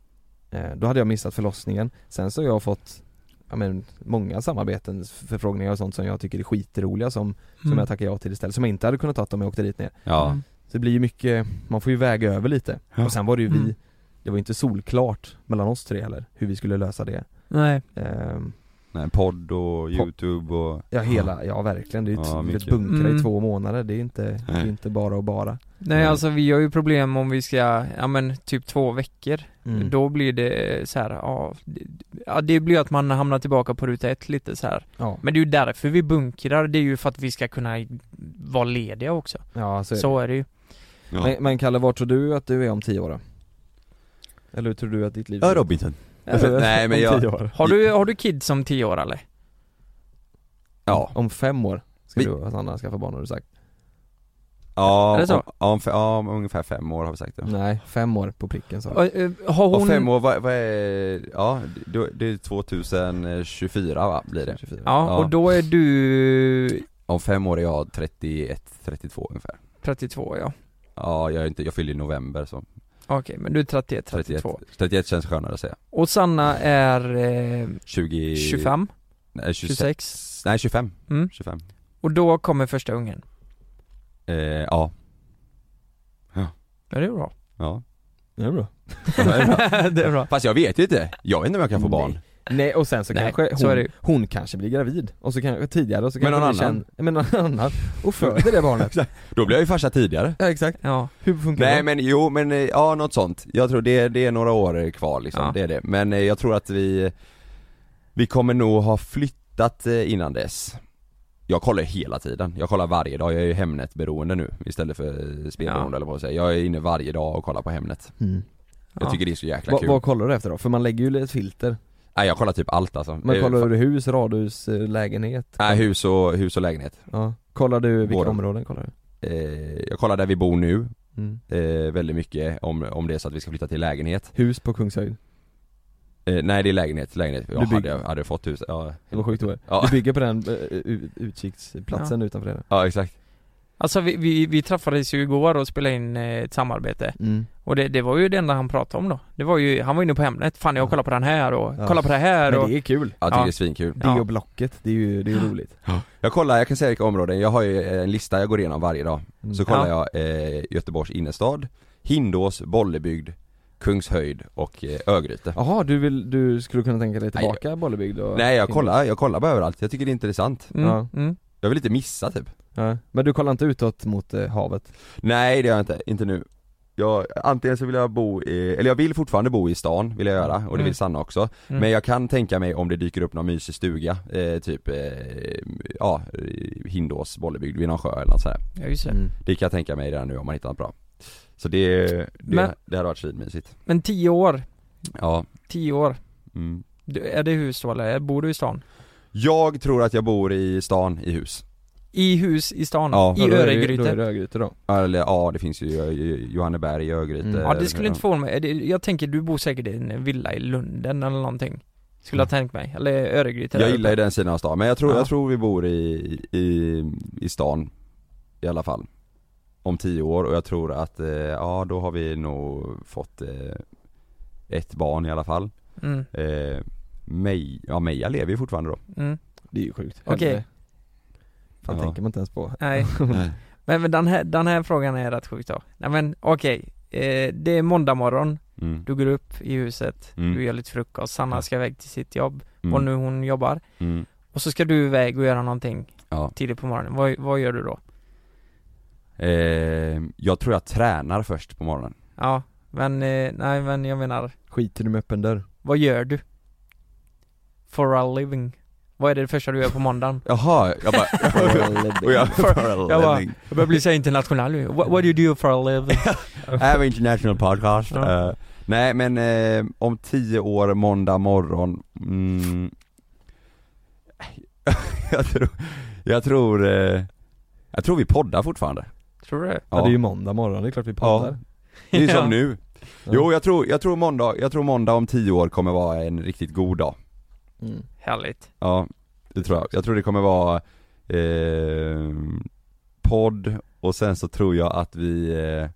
eh, då hade jag missat förlossningen. Sen så har jag fått ja, men, många samarbeten, förfrågningar och sånt som jag tycker är skitroliga som, som
Mm.
jag tackar ja till istället, som jag inte hade kunnat ta om jag åkte dit ner.
Ja. Mm.
Så det blir ju mycket, man får ju väga över lite.
Ja.
Och sen var det ju vi,
Mm.
det var ju inte solklart mellan oss tre heller, hur vi skulle lösa det.
Nej.
Ehm,
Nej, podd och youtube och...
Ja hela, ja verkligen. Det är ju
Ja,
ett
mycket.
bunkra i
Mm.
två månader, det är inte, det är
Nej.
inte bara och bara.
Nej alltså vi har ju problem om vi ska, ja men typ två veckor
Mm.
Då blir det så här, ja, det- ja det blir att man hamnar tillbaka på ruta ett lite så här.
Ja.
Men det är ju därför vi bunkrar, det är ju för att vi ska kunna vara lediga också
Ja, så är
Så är det ju
Ja.
Men, men Kalle, vart tror du att du är om tio år då? Eller hur tror du att ditt liv
Ja, Robinson.
Eller,
*laughs* Nej,
*laughs*
men
om
jag-
tio år.
Har du, har du kids som tio år eller?
Ja.
Om fem år ska du och Sanna skaffa barn har du sagt.
Ja,
Är det så?
Om, om, fe- ja, om ungefär fem år har vi sagt det.
Nej, fem år på pricken sa
Och, eh, har
Och
hon-
fem år, vad, vad är, ja det, det är 2024 va, blir det?
Ja, och då är du
Om fem år är jag 31, 32 ungefär
32 ja
Ja, jag är inte, jag fyller i november så
Okej, men du är 31, 32
31, 31 känns skönare att säga
Och Sanna är eh,
20
25
Nej 26,
26.
Nej 25,
Mm.
25
Och då kommer första ungen
eh, Ja,
Ja det är bra
ja *laughs*
Det är bra
Det är bra.
Fast jag vet ju inte, jag vet inte om jag kan få barn
Nej och sen så
Nej,
kanske hon,
så är det ju.
hon kanske blir gravid, och så kanske tidigare och så
Med
kanske
någon
blir
annan.
känd- Med någon annan, och föder det barnet
*laughs* Då blir jag ju farsa tidigare
Ja exakt,
ja.
hur funkar
Nej
det?
men jo men eh, ja något sånt. Jag tror det, det är några år kvar liksom,
Ja.
det är det. Men eh, jag tror att vi Vi kommer nog ha flyttat eh, innan dess Jag kollar hela tiden, jag kollar varje dag, jag är ju Hemnet-beroende nu istället för eh, spelberoende eller vad man säger. Jag är inne varje dag och kollar på Hemnet
Mm.
Jag
Ja.
tycker det är så jäkla
Vad-
kul
Vad kollar du efter då? För man lägger ju ett filter,
Nej jag kollar typ allt alltså
man
Eh,
kollar
fa-
du hus, radhus, eh, lägenhet?
Nej hus och, hus och lägenhet
Ja. Kollar du vilka
Båda.
områden kollar du?
eh, Jag kollar där vi bor nu
Mm.
eh, Väldigt mycket om, om det är så att vi ska flytta till lägenhet
Hus på Kungshöjd?
Eh, nej det är lägenhet, lägenhet.
Du
Jag hade,
bygger-
jag hade fått hus, ja.
Det var sjukt då.
Ja.
Du bygger på den eh, u- utkiksplatsen utanför det
ja exakt.
Alltså vi, vi, vi träffades ju igår och spelade in eh, ett samarbete
Mm.
Och det, det var ju det enda han pratade om då Det var ju, han var inne på Hemnet, fan jag kollar på den här och
Ja.
kollar på det här
Men
och
det är kul.
Jag tycker det är svinkul.
Det och blocket, det är ju, det är ju roligt
Jag kollar, jag kan säga vilka områden, jag har ju en lista jag går igenom varje dag. Så
Mm.
kollar jag eh, Göteborgs innerstad, Hindås, Bollebygd, Kungshöjd och eh, Örgryte.
Jaha, du vill, du skulle kunna tänka dig
Nej,
tillbaka Bollebygd och
Nej jag kollar, jag kollar bara överallt, jag tycker det är intressant.
Mm, Ja.
mm.
Jag vill inte missa typ.
ja. Men du kollar inte utåt mot eh, havet?
Nej det gör jag inte, inte nu. Jag, antingen så vill jag bo i, eller jag vill fortfarande bo i stan, vill jag göra, och det
Mm.
vill Sanna också.
Mm.
Men jag kan tänka mig om det dyker upp någon mysig stuga, eh, typ, eh, ja, Hindås, Bollebygd, vid någon sjö eller något sådär.
Ja, just det.
Mm.
Det kan jag tänka mig redan nu om man hittar något bra. Så det, det,
Men-
det hade varit svinmysigt.
Men tio år,
Ja.
tio år
Mm.
du, Är det hus då eller bor du i stan?
Jag tror att jag bor i stan i hus.
I hus i stan? I
då är det-
Öregryte?
då
är det Örgryte då?
Eller ja, det finns ju eh, Johanneberg, Örgryte.
Mm. Ja det skulle inte förvåna mig, Det- jag tänker du bor säkert i en villa i Lunden eller någonting Skulle jag tänkt mig, eller Öregryte
Jag
där
gillar ju
uppe.
den sidan av stan, men jag tror,
Ja.
jag tror vi bor i, i, i stan i alla fall Om tio år och jag tror att, eh, ja då har vi nog fått eh, ett barn i alla fall
Mm.
eh, Mej, ja Meja lever ju fortfarande då
Mm.
Det är ju sjukt
Okej.
Helvete. Fan
Ja.
tänker man inte ens på
Nej. Men, men den, här, den här frågan är rätt sjuk då. Nej men okej, eh, det är måndag morgon,
Mm.
du går upp i huset,
Mm.
du gör lite frukost, Sanna ska iväg till sitt jobb,
Mm.
och nu hon jobbar.
Mm.
Och så ska du iväg och göra någonting
Ja.
tidigt på morgonen, vad, vad gör du då?
eh, Jag tror jag tränar först på morgonen
Ja, men eh, nej men jag menar,
Skiter du med öppen dörr?
vad gör du? For a living? Vad är det första du gör på
*laughs*
måndagen?
Jaha, jag bara, *laughs* och jag,
For- jag bara,
living.
jag börjar bli så här internationell nu. What, what do you do for a
*laughs*
living?
I have an international podcast.
Ja.
Eh, nej men eh, om tio år, måndag morgon, mm, *laughs* jag tror, jag tror, eh, jag tror vi poddar fortfarande.
Tror du det?
Ja. det är ju måndag morgon, det är klart vi poddar
Det är ju som
Ja.
nu. Jo jag tror, jag tror måndag, jag tror måndag om tio år kommer vara en riktigt god dag.
Mm.
Härligt.
Ja, det tror jag. Jag tror det kommer vara eh, podd och sen så tror jag att vi eh,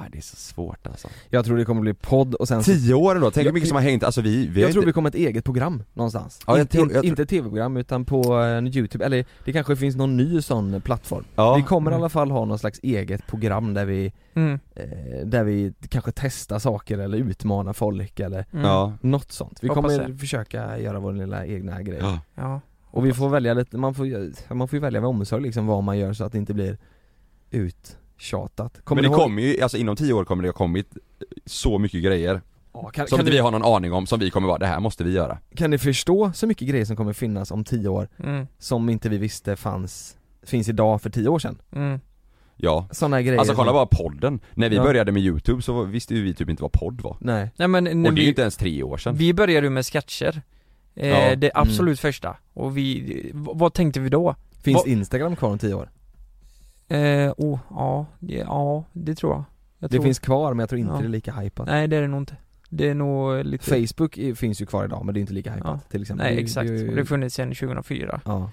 Nej, det är så svårt alltså.
Jag tror det kommer bli podd och sen...
Tio år ändå, tänk hur mycket som har hängt, alltså vi, vi
Alltså, Jag
har
tror
inte-
det kommer ett eget program någonstans.
Ja, jag
inte,
tror- jag tror-
inte ett tv-program utan på eh, youtube, eller det kanske finns någon ny sån eh, plattform.
Ja.
Vi kommer i
Mm.
alla fall ha någon slags eget program där vi,
Mm.
eh, där vi kanske testar saker eller utmanar folk eller
Mm. Ja.
något sånt. Vi
Hoppas
kommer
det.
försöka göra vår lilla egna grej.
Ja. Ja,
Och vi får välja lite, man får, ju- man får ju välja med omsorg liksom vad man gör så att det inte blir uttjatat.
Men
ni
det
ihåg-
kommer ju, alltså inom tio år kommer det ha kommit eh, så mycket grejer
Ja, kan-
Som
kan
inte
du-
vi har någon aning om, som vi kommer vara, det här måste vi göra
Kan ni förstå så mycket grejer som kommer finnas om tio år
Mm.
som inte vi visste fanns, finns idag för tio år sedan?
Mm.
Ja
Såna grejer
Alltså kolla
som-
bara podden, när vi
Ja.
började med youtube så visste ju vi typ inte vad podd var
Nej.
Nej, men när
Och det är
vi-
ju inte ens tre år sedan
Vi började ju med sketcher. Eh,
Ja.
Det
Mm.
absolut första. Och vi, v- vad tänkte vi då?
Finns
Vad-
Instagram kvar om tio år?
Eh, oh, ja, det, ja, det tror jag. jag
det
tror.
finns kvar men jag tror inte det är lika hypat
Nej, det är det nog inte. Det är nog lite...
Facebook är, finns ju kvar idag men det är inte lika hypat till exempel
Nej,
liksom. Det är- det är
exakt.
ju-
Och det har funnits sedan 2004.
Ja.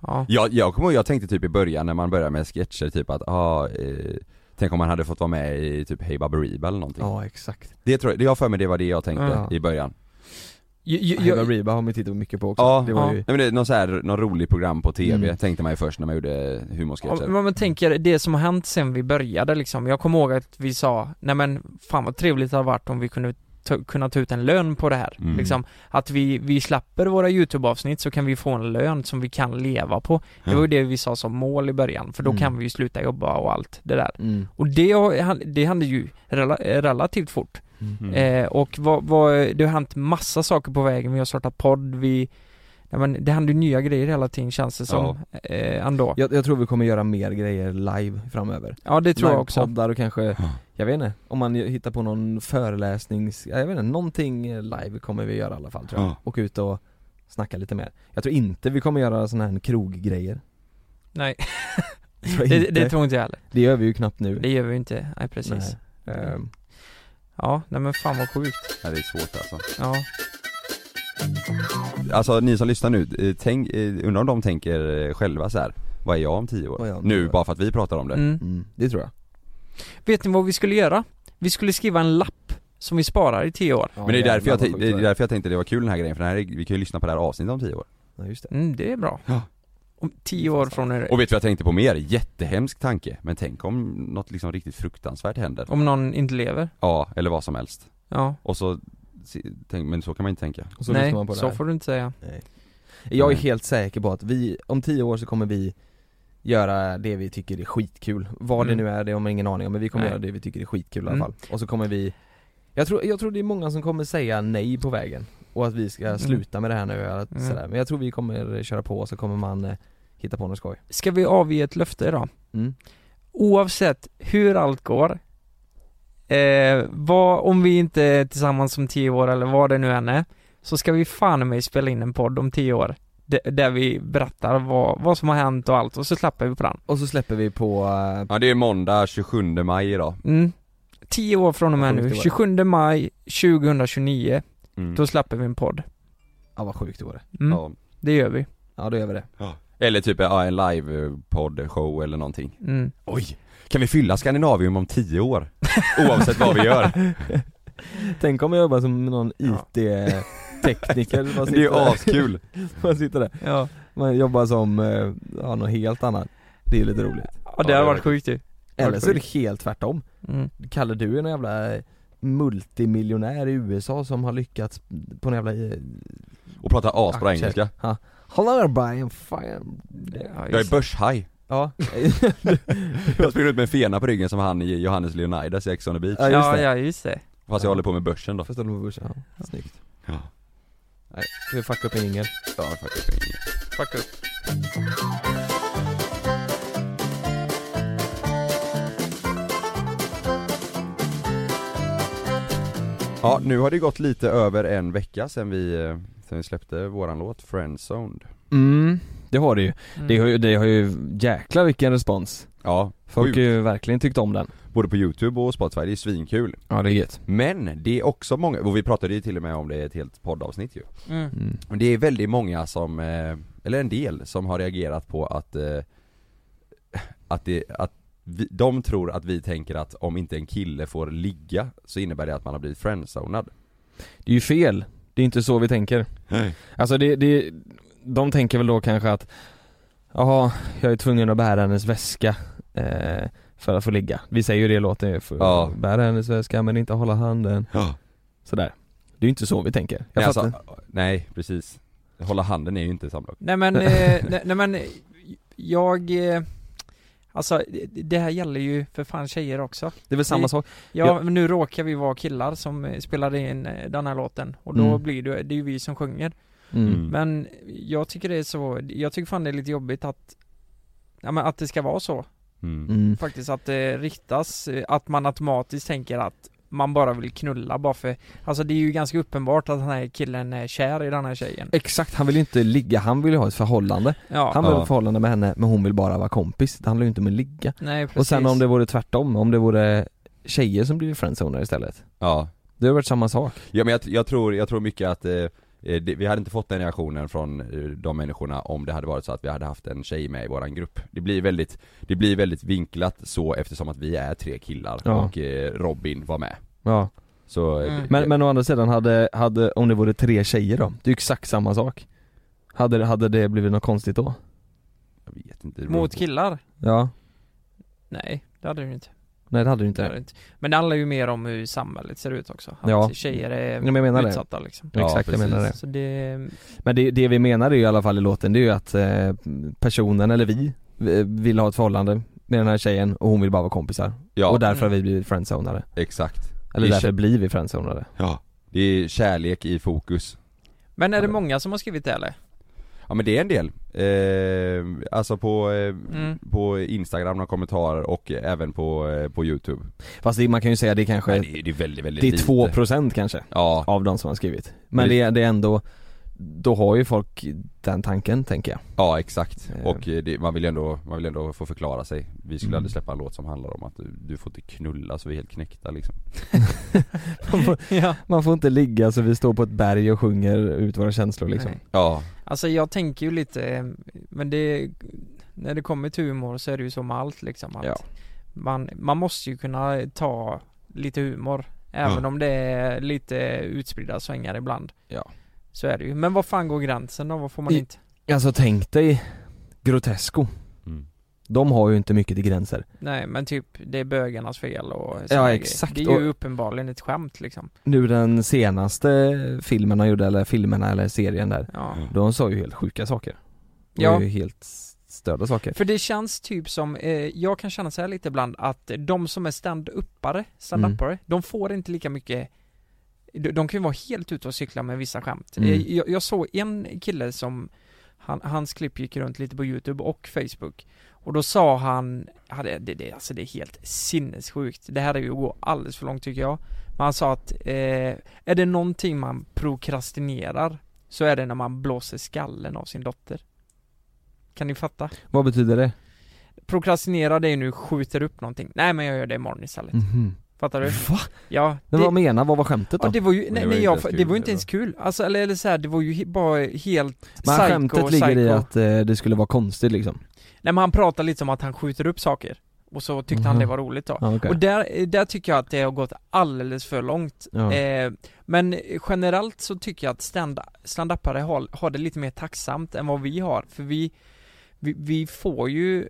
Ja.
Jag, jag kommer ihåg, jag tänkte typ i början när man började med sketcher typ att, ah, eh, tänk om man hade fått vara med i typ Hey Baberiba eller någonting
Ja, exakt
Det tror jag, jag har för mig det var det jag tänkte
Ja.
i början
jag,
jag, Reba har man tittat mycket på också,
Ja,
det var
ja.
ju
Nej, men det är någon, så här, någon rolig program på TV
Mm.
tänkte man ju först när man gjorde
Ja,
humorsketcher
men man tänker det som har hänt sen vi började liksom. Jag kommer ihåg att vi sa, nej men fan vad trevligt det hade varit om vi kunde ta, kunna ta ut en lön på det här.
Mm.
Liksom, att vi, vi släpper våra YouTube-avsnitt så kan vi få en lön som vi kan leva på. Det
Ja.
var ju det vi sa som mål i början, för då
Mm.
kan vi ju sluta jobba och allt det där.
Mm.
Och det, har- det hände ju rela- relativt fort.
Mm.
Eh, och vad, vad, det har hänt massa saker på vägen, vi har startat podd, vi Nej, men det händer ju nya grejer hela tiden känns det som, eh, ändå.
jag, jag tror vi kommer göra mer grejer live framöver
Ja, det tror jag också.
Livepoddar och kanske, jag vet inte, om man hittar på någon föreläsnings, jag vet inte, någonting eh, live kommer vi göra i alla fall tror jag
Ja.
Och ut och snacka lite mer Jag tror inte vi kommer göra såna här kroggrejer
Nej
Jag tror
*laughs* det,
inte.
det tror inte jag heller
Det gör vi ju knappt nu Ehm,
Det gör vi ju inte, nej precis
Nej.
Mm. Ja, nej men fan vad sjukt
Ja, det är svårt alltså
Ja
Alltså ni som lyssnar nu, eh, tänk, eh, undrar om de tänker eh, själva så här. vad är jag om tio
Vad är jag
år?
om tio
Nu
år?
bara för att vi pratar om det
Mm.
Det tror jag
Vet ni vad vi skulle göra? Vi skulle skriva en lapp som vi sparar i tio år
Men det är, därför jag, tänk- det är därför jag tänkte det var kul den här grejen, för den här, är- vi kan ju lyssna på det här avsnittet om tio år
Ja just det
mm, Det är bra Om tio år från nu
Och vet du vad jag tänkte på mer? Jättehemsk tanke, men tänk om något liksom riktigt fruktansvärt händer
Om någon inte lever
Ja, eller vad som helst
Ja.
Och så, se- tänk, men så kan man inte tänka
Och så
Nej,
lyssnar man på det
så
här.
får du inte säga
Nej. Jag är
Nej.
Mm.
helt säker på att vi, om tio år så kommer vi göra det vi tycker är skitkul. Vad
Mm.
det nu är, det har man ingen aning om, men vi kommer
Nej.
göra det vi tycker är skitkul i
Mm.
alla fall. Och så kommer vi jag tror, jag tror det är många som kommer säga nej på vägen och att vi ska
Mm.
sluta med det här nu eller
Mm.
sådär. Men jag tror vi kommer köra på och så kommer man eh, hitta på något skoj.
Ska vi avge ett löfte idag?
Mm.
Oavsett hur allt går eh, vad, Om vi inte är tillsammans om tio år eller vad det nu än är Så ska vi fan i mig spela in en podd om tio år d- Där vi berättar vad, vad som har hänt och allt och så släpper vi på den
Och så släpper vi på... eh,
Ja det är måndag 27 maj idag
mm. Tio år från och med
Vad sjukt
nu,
det var.
27 maj 2029
Mm.
Då släpper vi en podd
Ja ah, vad sjukt det vore.
mm.
Ja.
Det gör vi
Ja då gör vi det.
Eller typ ja, en live-poddshow eller någonting
Mm.
Oj! Kan vi fylla Skandinavium om tio år? Oavsett vad vi *laughs* gör
*laughs* Tänk om jag jobbar som någon
*laughs*
IT-tekniker man
Det är ju
sitter där. *laughs*
askul.
Man sitter där
ja.
Man jobbar som, eh, ja, något helt annat Det är ju lite roligt
Ja det hade varit sjukt ju
Eller
Varit
så är det
sjukt.
helt tvärtom
Mm.
Kalle du är någon jävla eh, multimiljonär i USA som har lyckats på någon jävla eh,
Och prata asbra
aktier.
engelska
Ja. Hello everybody, I'm fine
Jag är *laughs* börshaj
Ja
Jag springer ut med en fena på ryggen som han i Johannes Leonidas i Ex on the beach
Ja, ja, just det
Fast jag håller på med
*laughs*
börsen då
Fast du håller på börsen, ja, snyggt
Ja.
Nej, ska vi fucka upp en jingel?
Ja, fuck upp en jingel
Fuck upp
Ja, nu har det gått lite över en vecka sen vi, eh, sen vi släppte våran låt 'Friendzoned'
Mm, det har det ju.
Mm.
Det, har ju det har ju, jäklar vilken respons
Ja,
Folk
sjukt.
har ju verkligen tyckt om den
Både på youtube och Spotify, det är svinkul
Ja det är gött
Men det är också många, och vi pratade ju till och med om det i ett helt poddavsnitt ju
Mm.
Mm.
Men det är väldigt många som, eh, eller en del som har reagerat på att eh, att, det, att vi, de tror att vi tänker att om inte en kille får ligga så innebär det att man har blivit friendzonad.
Det är ju fel, det är inte så vi tänker.
Nej.
Alltså det, det, de tänker väl då kanske att Jaha, jag är tvungen att bära hennes väska eh, för att få ligga. Vi säger ju det i låten ju, för
Ja.
bära hennes väska men inte hålla handen. Sådär. Det är ju inte så vi tänker. Jag
nej, alltså,
fattar.
nej precis. Hålla handen är ju inte samlag.
Nej men, eh, *laughs* nej, nej men, eh, jag, eh, alltså det- det här gäller ju för fan tjejer också
Det är väl samma
Vi-
sak.
Ja,
Jag-
men nu råkar vi vara killar som eh, spelade in eh, den här låten och då
Mm.
blir det, det är ju vi som sjunger
Mm.
Men jag tycker det är så, jag tycker fan det är lite jobbigt att Ja men att det ska vara så
Mm.
Mm.
Faktiskt att det riktas, eh, att man automatiskt tänker att man bara vill knulla bara för Alltså det är ju ganska uppenbart att den här killen är kär i den här tjejen
Exakt, han vill ju inte ligga, han vill ju ha ett förhållande.
Ja.
Han vill ha
Ja.
ett förhållande med henne men hon vill bara vara kompis, det handlar ju inte om att ligga.
Nej,
och sen
precis.
om det vore tvärtom, om det vore tjejer som blir friendzoner istället.
Ja.
Det har varit samma sak.
Ja men jag, jag, tror, jag tror mycket att eh, eh, det, vi hade inte fått den reaktionen från eh, de människorna om det hade varit så att vi hade haft en tjej med i våran grupp. Det blir väldigt, det blir väldigt vinklat så eftersom att vi är tre killar
Ja.
och eh, Robin var med.
Ja.
Så, eh,
Men, men å andra sidan, hade, hade, om det vore tre tjejer då, det är ju exakt samma sak. Hade, det- hade det blivit något konstigt då?
jag vet inte.
Mot killar?
Ja,
Nej, det hade du ju inte
nej det hade du
Det
inte.
är det inte. Men det handlar ju mer om hur samhället ser ut också. Att
Ja.
tjejer
Ja,
är
men jag menar det.
utsatta liksom.
Ja, Exakt, jag precis. menar det.
Så det,
Men det, det vi menar är ju i alla fall i låten, det är ju att eh, personen, eller vi, eh, vill ha ett förhållande med den här tjejen och hon vill bara vara kompisar.
Ja.
Och därför har
Mm.
vi blivit friendzonade.
Exakt.
Eller
Det är
därför
kä-
blir vi friendzonade.
Ja. Det är kärlek i fokus.
Men är det många som har skrivit det eller?
Ja men det är en del. Eh, alltså på, eh,
Mm.
på Instagram, några kommentarer och även på, eh, på Youtube.
Fast det, man kan ju säga det kanske,
Nej, det, är- det är väldigt, väldigt
det är
lite.
2% kanske,
ja.
av de som har skrivit.
Men
Men
det-
det, är- det är ändå, då har ju folk den tanken tänker jag.
Ja exakt, och eh, Mm. det, man, vill ju ändå, man vill ändå få förklara sig Vi skulle aldrig släppa en låt som handlar om att du, du får inte knulla så vi är helt knäckta liksom
Man får,
*laughs*
man får inte ligga så vi står på ett berg och sjunger ut våra känslor liksom.
Nej.
Ja
Alltså jag tänker ju lite, eh, men det, när det kommer till humor så är det ju som med allt liksom. Att
Ja.
man, man måste ju kunna ta lite humor. Även
Ja.
om det är lite utspridda svängar ibland.
Ja.
Så är det ju. Men var fan går gränsen då? Vad får man
I-
inte?
Alltså tänk dig Grotesco.
Mm.
De har ju inte mycket till gränser.
Nej men typ, det är bögarnas fel och såna
Ja,
grejer.
exakt.
Det är ju uppenbarligen ett skämt liksom.
Nu den senaste filmen de gjorde, eller filmerna eller serien där, de sa ju helt sjuka saker. Det
Ja.
var ju helt störda saker.
För det känns typ som, eh, jag kan känna så här lite ibland att de som är stand-uppare, stand-upare, de får inte lika mycket de, de kan ju vara helt ute och cykla med vissa skämt.
Mm.
Eh, Jag, jag såg en kille som, han, hans klipp gick runt lite på youtube och facebook och då sa han, ja, det, det, det, alltså det är helt sinnessjukt, det här är ju att gå alldeles för långt tycker jag. Men han sa att, eh, är det någonting man prokrastinerar så är det när man blåser skallen av sin dotter. Kan ni fatta?
Vad betyder det?
prokrastinera det är nu skjuter upp någonting. Nej men jag gör det imorgon istället.
Mhm.
Fattar du?
Va?
Ja.
Men
det-
vad menar, vad var skämtet då?
Ja, det var ju, nej, nej, jag, det var ju inte
det
ens kul. Alltså eller, eller så här, det var ju he- bara helt
Men
psycho,
skämtet ligger
psycho.
i att eh, det skulle vara konstigt liksom.
Nej men han pratade lite om att han skjuter upp saker. Och så tyckte han
Mhm.
det var roligt då.
Ja, okej.
Och där, eh, där tycker jag att det har gått alldeles för långt.
Ja.
Eh, men generellt så tycker jag att stand- stand-upare har, har det lite mer tacksamt än vad vi har. För vi, vi, vi får ju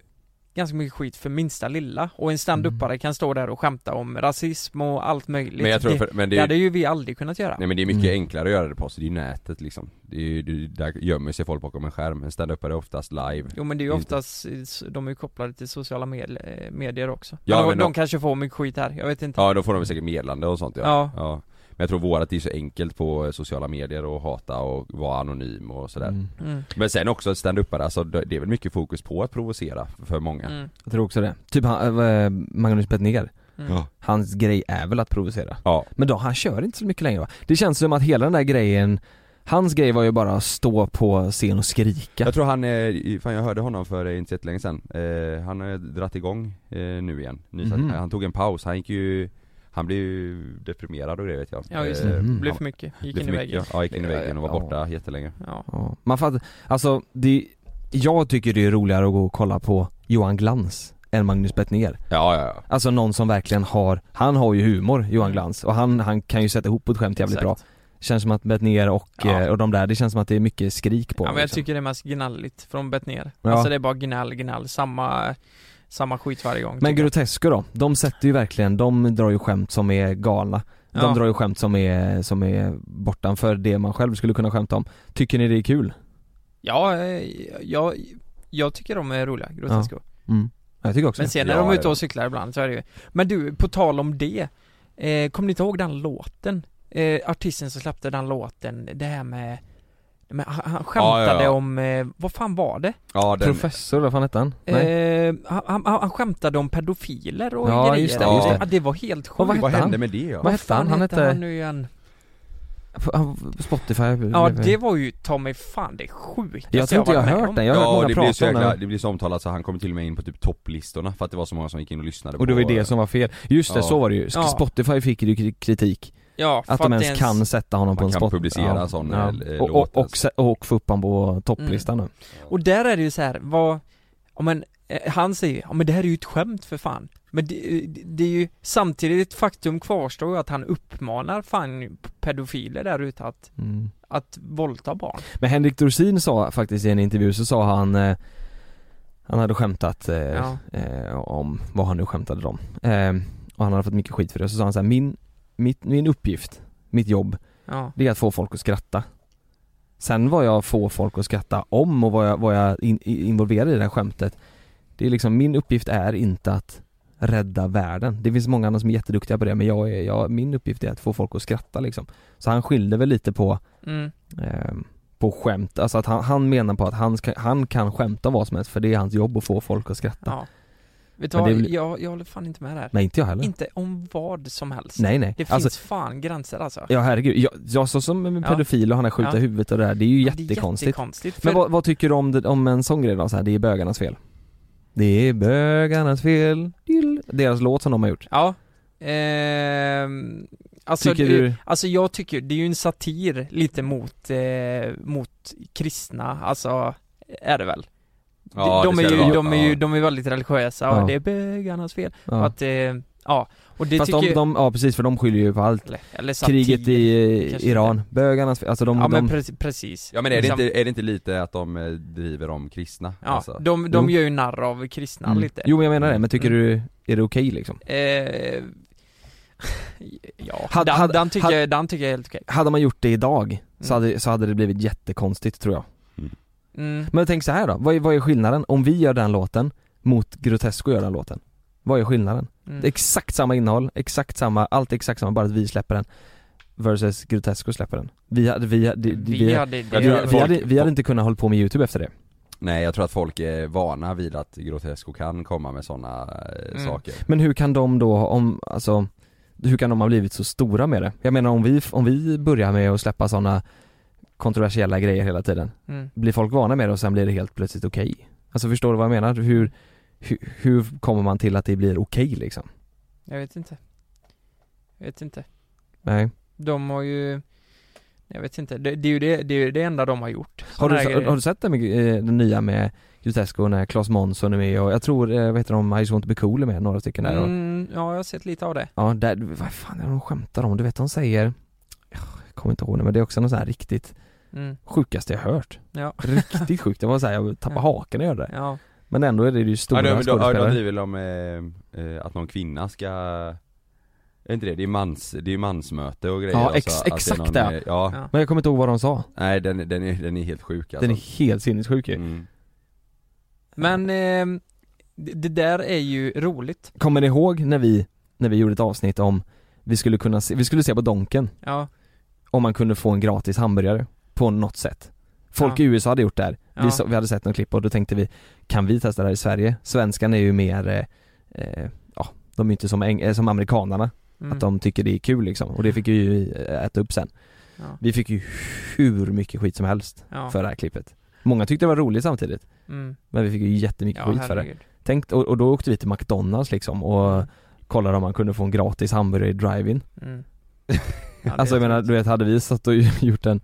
ganska mycket skit för minsta lilla. Och en stand-upare kan stå där och skämta om rasism och allt möjligt.
Mm. Men jag tror
det,
för- men det
det,
är ju- Mm.
hade ju vi aldrig kunnat göra.
Nej men det är mycket enklare att göra det på så det är ju nätet liksom det är ju, det, Där gömmer sig folk bakom en skärm, en standupare är oftast live
Jo men det är ju
inte-
oftast, eh, de är ju kopplade till sociala med, eh, medier också.
Ja,
men de,
men
de
de-
kanske får mycket skit här, jag vet inte.
Ja då får de väl säkert medlande och sånt ja.
Ja.
Men jag tror vårat är så enkelt på eh, sociala medier och hata och vara anonym och sådär
Mm.
Mm.
Men sen också stand-upare, alltså det det är väl mycket fokus på att provocera för många
Mm,
Jag tror också det. Typ han, eh, Magnus Bettner.
Mm. Ja.
Hans grej är väl att provocera.
Ja.
Men då, han kör inte så mycket längre va? Det känns som att hela den där grejen, hans grej var ju bara att stå på scen och skrika.
Jag tror han, eh, i- fan jag hörde honom för eh, inte så länge sedan, eh, han har dratt igång eh, nu igen, Ny,
Mhm.
han tog en paus, han gick ju han blev ju deprimerad och det vet jag
Ja, just
det.
Eh,
Mhm.
han-
Blev för mycket. Gick
blev
in
för
i
mycket,
väggen.
Ja, gick in i väggen och var
Ja.
borta jättelänge
Ja.
Ja. Man fattar, alltså det, jag tycker det är roligare att gå och kolla på Johan Glans än Magnus Bettner.
Ja, ja, ja.
Alltså någon som verkligen har, han har ju humor, Johan Glans, och han, han kan ju sätta ihop ett skämt jävligt
Exakt.
bra Känns som att Bettner och, eh, och de där, det känns som att det är mycket skrik på
Ja,
dem,
men jag
liksom.
tycker det är mest gnälligt från Bettner.
Ja.
Alltså det är bara gnäll, gnäll, samma, samma skit varje gång.
Men
tycker jag.
Grotesco då, de sätter ju verkligen, de drar ju skämt som är galna De
Ja.
drar ju skämt som är, som är bortanför det man själv skulle kunna skämta om Tycker ni det är kul?
Ja, eh, jag, jag tycker de är roliga, Grotesco.
Ja. Mm. Jag tycker också
Men sen när de är ute och cyklar ibland så är det ju Men du, på tal om det eh, Kommer ni inte ihåg den låten? Eh, artisten som släppte den låten, det här med men han, han skämtade
Ja, ja, ja.
om, eh, vad fan var det?
Ja, den-
Professor, vad fan hette han? Nej.
Eh, han, han, han skämtade om pedofiler och
Ja,
grejer
just det, just det.
Ja, det var helt sjukt
Och vad hette Vad hände han? med det, ja? Vad hette han? Han hette-
han nu igen?
Spotify
Ja det var ju ta mig fan det sjukaste varit med om.
ja, och det blir så
prata om
jäkla,
den.
det blir så omtalat så han kom till och med in på typ topplistorna för att det var så många som gick in och lyssnade
Och det var
på
ju det som var fel, just det
Ja.
så var det ju, Sk-
Ja.
Spotify fick ju kri- kritik
Ja,
Att
för
de
att
ens,
det
kan
ens-
sätta honom på
man
en
kan
spot
publicera sån, eh,
och,
låt
och, och, se- och få upp honom på topplistan
Mm.
nu
Och där är det ju så här, vad, ja men eh, han säger ju, ja men det här är ju ett skämt för fan Men det, det- det är ju, samtidigt ett faktum kvarstår ju att han uppmanar fan pedofiler där ute att,
Mm.
att våldta barn
Men Henrik Dorsin sa faktiskt i en intervju så sa han eh, Han hade skämtat eh,
Ja.
eh, om vad han nu skämtade om eh, Och han hade fått mycket skit för det, så sa han så här, min, mitt, min uppgift, mitt jobb
Ja.
Det är att få folk att skratta Sen vad jag får folk att skratta om och vad jag, vad jag in, i- involverar i det här skämtet Det är liksom, min uppgift är inte att rädda världen. Det finns många andra som är jätteduktiga på det men jag är, jag, min uppgift är att få folk att skratta liksom. Så han skilde väl lite på
Mm.
ehm, på skämt, alltså att han, han menar på att han, ska, han kan skämta om vad som helst för det är hans jobb att få folk att skratta.
Ja. Vet du
Men
vad,
det är väl-
jag, jag håller fan inte med där
Nej, inte jag heller.
Inte om vad som helst
Nej, nej.
Det finns
Alltså-
fan gränser alltså
Ja herregud, jag, jag så som en
Ja.
pedofil och han har skjutit
Ja.
huvudet och det där, det är ju
Ja, det är
jättekonstigt.
jättekonstigt, för-
Men vad, vad tycker du om, det, om en sån grej då? Så här, det är bögarnas fel. Det är bögarnas fel. Dill. Deras låt som de har gjort.
Ja ehm, alltså,
Tycker
det,
du-
alltså jag tycker, det är ju en satir lite mot, eh, mot kristna, alltså är det väl?
Ja,
de,
det
är
ska
ju,
det vara.
de är
Ja.
ju, de är väldigt religiösa och
Ja.
det är bögarnas fel
Ja.
och att, eh, ja, och det
Fast
tycker
de, de, ja precis för de skyller ju på allt.
eller satir,
Kriget i eh,
kanske
Iran, bögarnas fel, alltså de,
Ja, men
de
preci- precis.
Ja men är det,
Liksom-
inte, är det inte lite att de eh, driver om kristna? Alltså,
ja, de, de
alltså. Jo.
gör ju narr av kristna
Mm.
lite
Jo men jag menar det, men tycker
Mm.
du, är det okej liksom?
eh, *laughs* Ja,
Hade-
den,
hade-
den, tycker,
hade-
jag- den tycker jag är helt okej
Hade man gjort det idag så hade, så hade det blivit jättekonstigt tror jag
mm.
Men tänk så här då, vad är, vad är skillnaden om vi gör den låten mot Grotesco gör den låten? Vad är skillnaden?
Mm.
Det är exakt samma innehåll, exakt samma, allt är exakt samma, bara att vi släpper den Versus Grotesco släpper den Vi hade, vi hade,
Vi hade-
vi,
Jag
vi,
tror
att
hade, vi,
folk-
hade, inte kunnat hålla på med youtube efter det
Nej jag tror att folk är vana vid att Grotesco kan komma med sådana
Mm.
saker
Men hur kan de då, om, alltså hur kan de ha blivit så stora med det? Jag menar om vi, om vi börjar med att släppa sådana kontroversiella grejer hela tiden
Mm.
Blir folk vana med det och sen blir det helt plötsligt okej? Alltså förstår du vad jag menar? Hur, hur, hur kommer man till att det blir okej liksom?
Jag vet inte Jag vet inte
Nej
De har ju Jag vet inte, det, det är ju det, det, är ju det enda de har gjort
Har
Såna här
du,
grejer.
har du sett den, med, eh, den nya med Grotesco när Claes Månsson är med och jag tror, eh, vad heter de, I just want to be cool är med, några stycken där och,
Mm, ja, jag har sett lite av det
Ja, där, vad fan är det de skämtar om? Du vet de säger, jag kommer inte ihåg det men det är också något sån här riktigt
Mm.
sjukaste jag hört
Ja. *laughs*
Riktigt sjukt, det var såhär, jag tappade hakan när jag hörde det
Ja.
Men ändå är det ju stora
ja, de, de, ja, de
skådespelare
driver om eh, eh, att någon kvinna ska är inte det? Det är mans, det är mansmöte och grejer
Ja,
alltså,
ex,
att det är någon,
exakt
eh,
det!
ja.
Men jag kommer inte ihåg vad de sa,
Nej den, den, är, den är helt sjuk alltså. Mm.
den är helt sinnessjuk ju
Men eh, det, det där är ju roligt
Kommer ni ihåg när vi, när vi gjorde ett avsnitt om, vi skulle kunna se, vi skulle se på Donken
Ja,
om man kunde få en gratis hamburgare på något sätt Folk
Ja.
i USA hade gjort det här,
Ja.
vi, så, vi hade sett något klipp och då tänkte vi Kan vi testa det här i Sverige? Svenskarna är ju mer, eh, eh, ja de är ju inte som, eng- eh, som amerikanarna
Mm.
Att de tycker det är kul liksom, och det fick vi ju eh, äta upp sen
Ja.
Vi fick ju hur mycket skit som helst
Ja.
för det här klippet Många tyckte det var roligt samtidigt
Mm.
Men vi fick ju jättemycket
Ja,
skit för det
herregud.
Tänk, och, och då åkte vi till McDonalds liksom och kollade om man kunde få en gratis hamburgare i drive-in *laughs*
mm.
Alltså jag *laughs* menar, du vet hade vi satt och gjort en,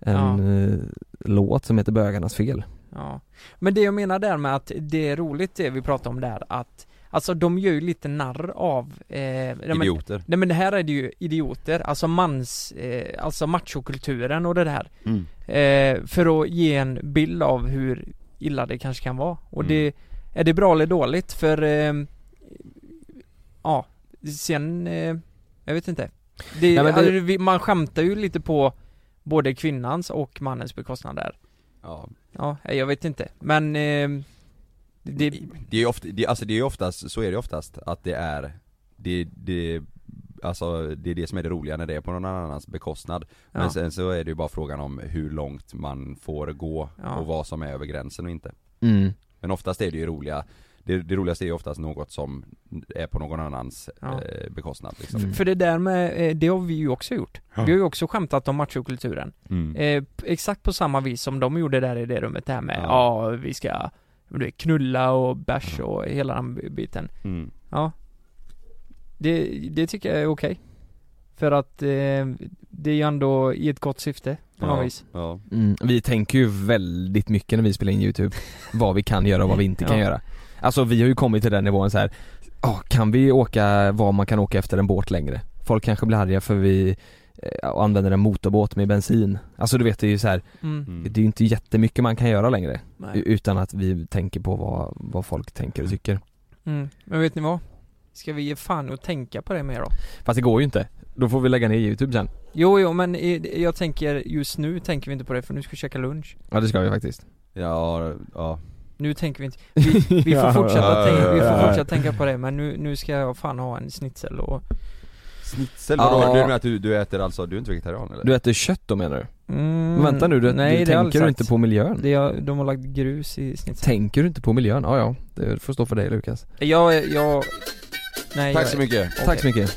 en eh, låt som heter Bögarnas fel
Ja. Men det jag menar där med att det är roligt det vi pratar om där att Alltså de gör ju lite narr av eh, nej, men-
Idioter.
Nej men det här är det ju idioter, alltså mans, eh, alltså machokulturen och det där
Mm.
eh, För att ge en bild av hur illa det kanske kan vara och det Är det bra eller dåligt? För eh, Ja, sen eh, Jag vet inte det,
Nej, men det-
alltså, vi- Man skämtar ju lite på både kvinnans och mannens bekostnad där
Ja
Ja, nej, jag vet inte, men eh, det,
Det är ju ofta, det, alltså det är ju oftast, så är det ju oftast att det är det, det, alltså det är det som är det roliga när det är på någon annans bekostnad Men
Ja.
sen så är det ju bara frågan om hur långt man får gå
Ja.
och vad som är över gränsen och inte
Mm.
Men oftast är det ju roliga det, det roligaste är ju oftast något som är på någon annans
Ja.
eh, bekostnad liksom.
För det där med, eh, det har vi ju också gjort.
Ja.
Vi har ju också skämtat om machokulturen.
Mm.
Eh, p- exakt på samma vis som de gjorde där i det rummet, det här med ja, vi ska du vet, knulla och bärs och hela den b- biten.
Mm.
Ja. Det, det tycker jag är okej. För att eh, det är ju ändå i ett gott syfte på
Ja,
något vis.
Ja.
Mm, vi tänker ju väldigt mycket när vi spelar in YouTube, vad vi kan göra och vad vi inte kan
Ja.
göra. Alltså vi har ju kommit till den nivån så här. ja, kan vi åka vad man kan åka efter en båt längre? Folk kanske blir arga för vi eh, använder en motorbåt med bensin. Alltså du vet det är ju så här.
Mm.
det är ju inte jättemycket man kan göra längre.
Nej.
U- Utan att vi tänker på vad, vad folk tänker och tycker.
Mm. Men vet ni vad? Ska vi ge fan och tänka på det mer då?
Fast det går ju inte, då får vi lägga ner YouTube sen.
Jo, jo, men i- jag tänker just nu tänker vi inte på det för nu ska vi käka lunch.
Ja det ska vi faktiskt.
Ja, ja
Nu tänker vi inte, vi, vi får
Ja,
fortsätta,
ja,
tänka, vi
ja,
får
ja.
fortsätta tänka på det men nu, nu ska jag fan ha en schnitzel och
Snitsel,
Ja.
vadå? Du menar att du, du äter alltså, du är inte vegetarian eller?
Du äter kött då menar du?
Mm,
Vänta nu, du,
nej,
du
det har jag aldrig
tänker du
sagt.
inte på miljön?
det jag, de har lagt grus i snitzeln
Tänker du inte på miljön? Ja, ja. Det får stå för dig Lukas.
Jag, jag, nej
Tack
jag,
så mycket.
Okej.
Tack så mycket.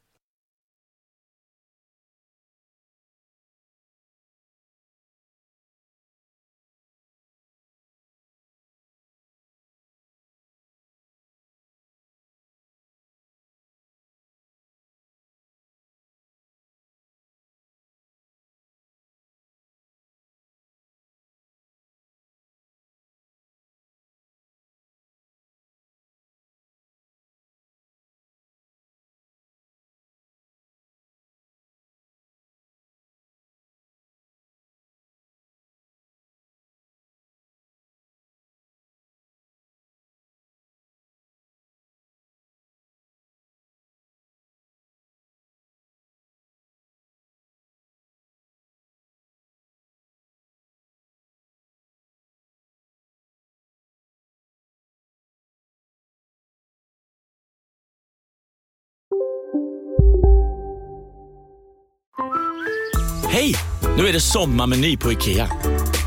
Hej! Nu är det sommarmeny på IKEA.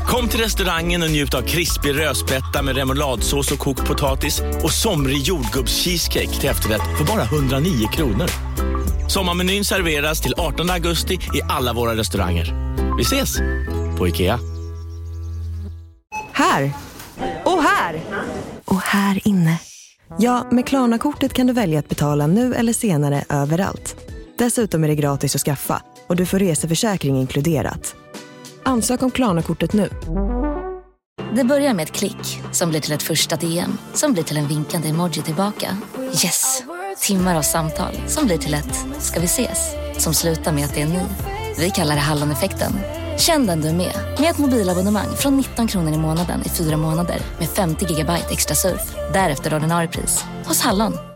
Kom till restaurangen och njut av krispig rödspätta med remouladsås och kokt potatis och somrig jordgubbscheesecake till efterrätt för bara 109 kronor. Sommarmenyn serveras till 18 augusti i alla våra restauranger. Vi ses! På IKEA.
Här! Och här! Och här inne. Ja, med Klarna-kortet kan du välja att betala nu eller senare överallt. Dessutom är det gratis att skaffa och du får reseförsäkring inkluderat. Ansök om Klarna-kortet nu.
Det börjar med ett klick som blir till ett första DM som blir till en vinkande emoji tillbaka. Yes! Timmar av samtal som blir till ett “ska vi ses?” som slutar med att det är ni. Vi kallar det Halloneffekten. Känn den du är med, med ett mobilabonnemang från 19 kronor i månaden i fyra månader med 50 gigabyte extra surf. Därefter ordinarie pris, hos Hallon.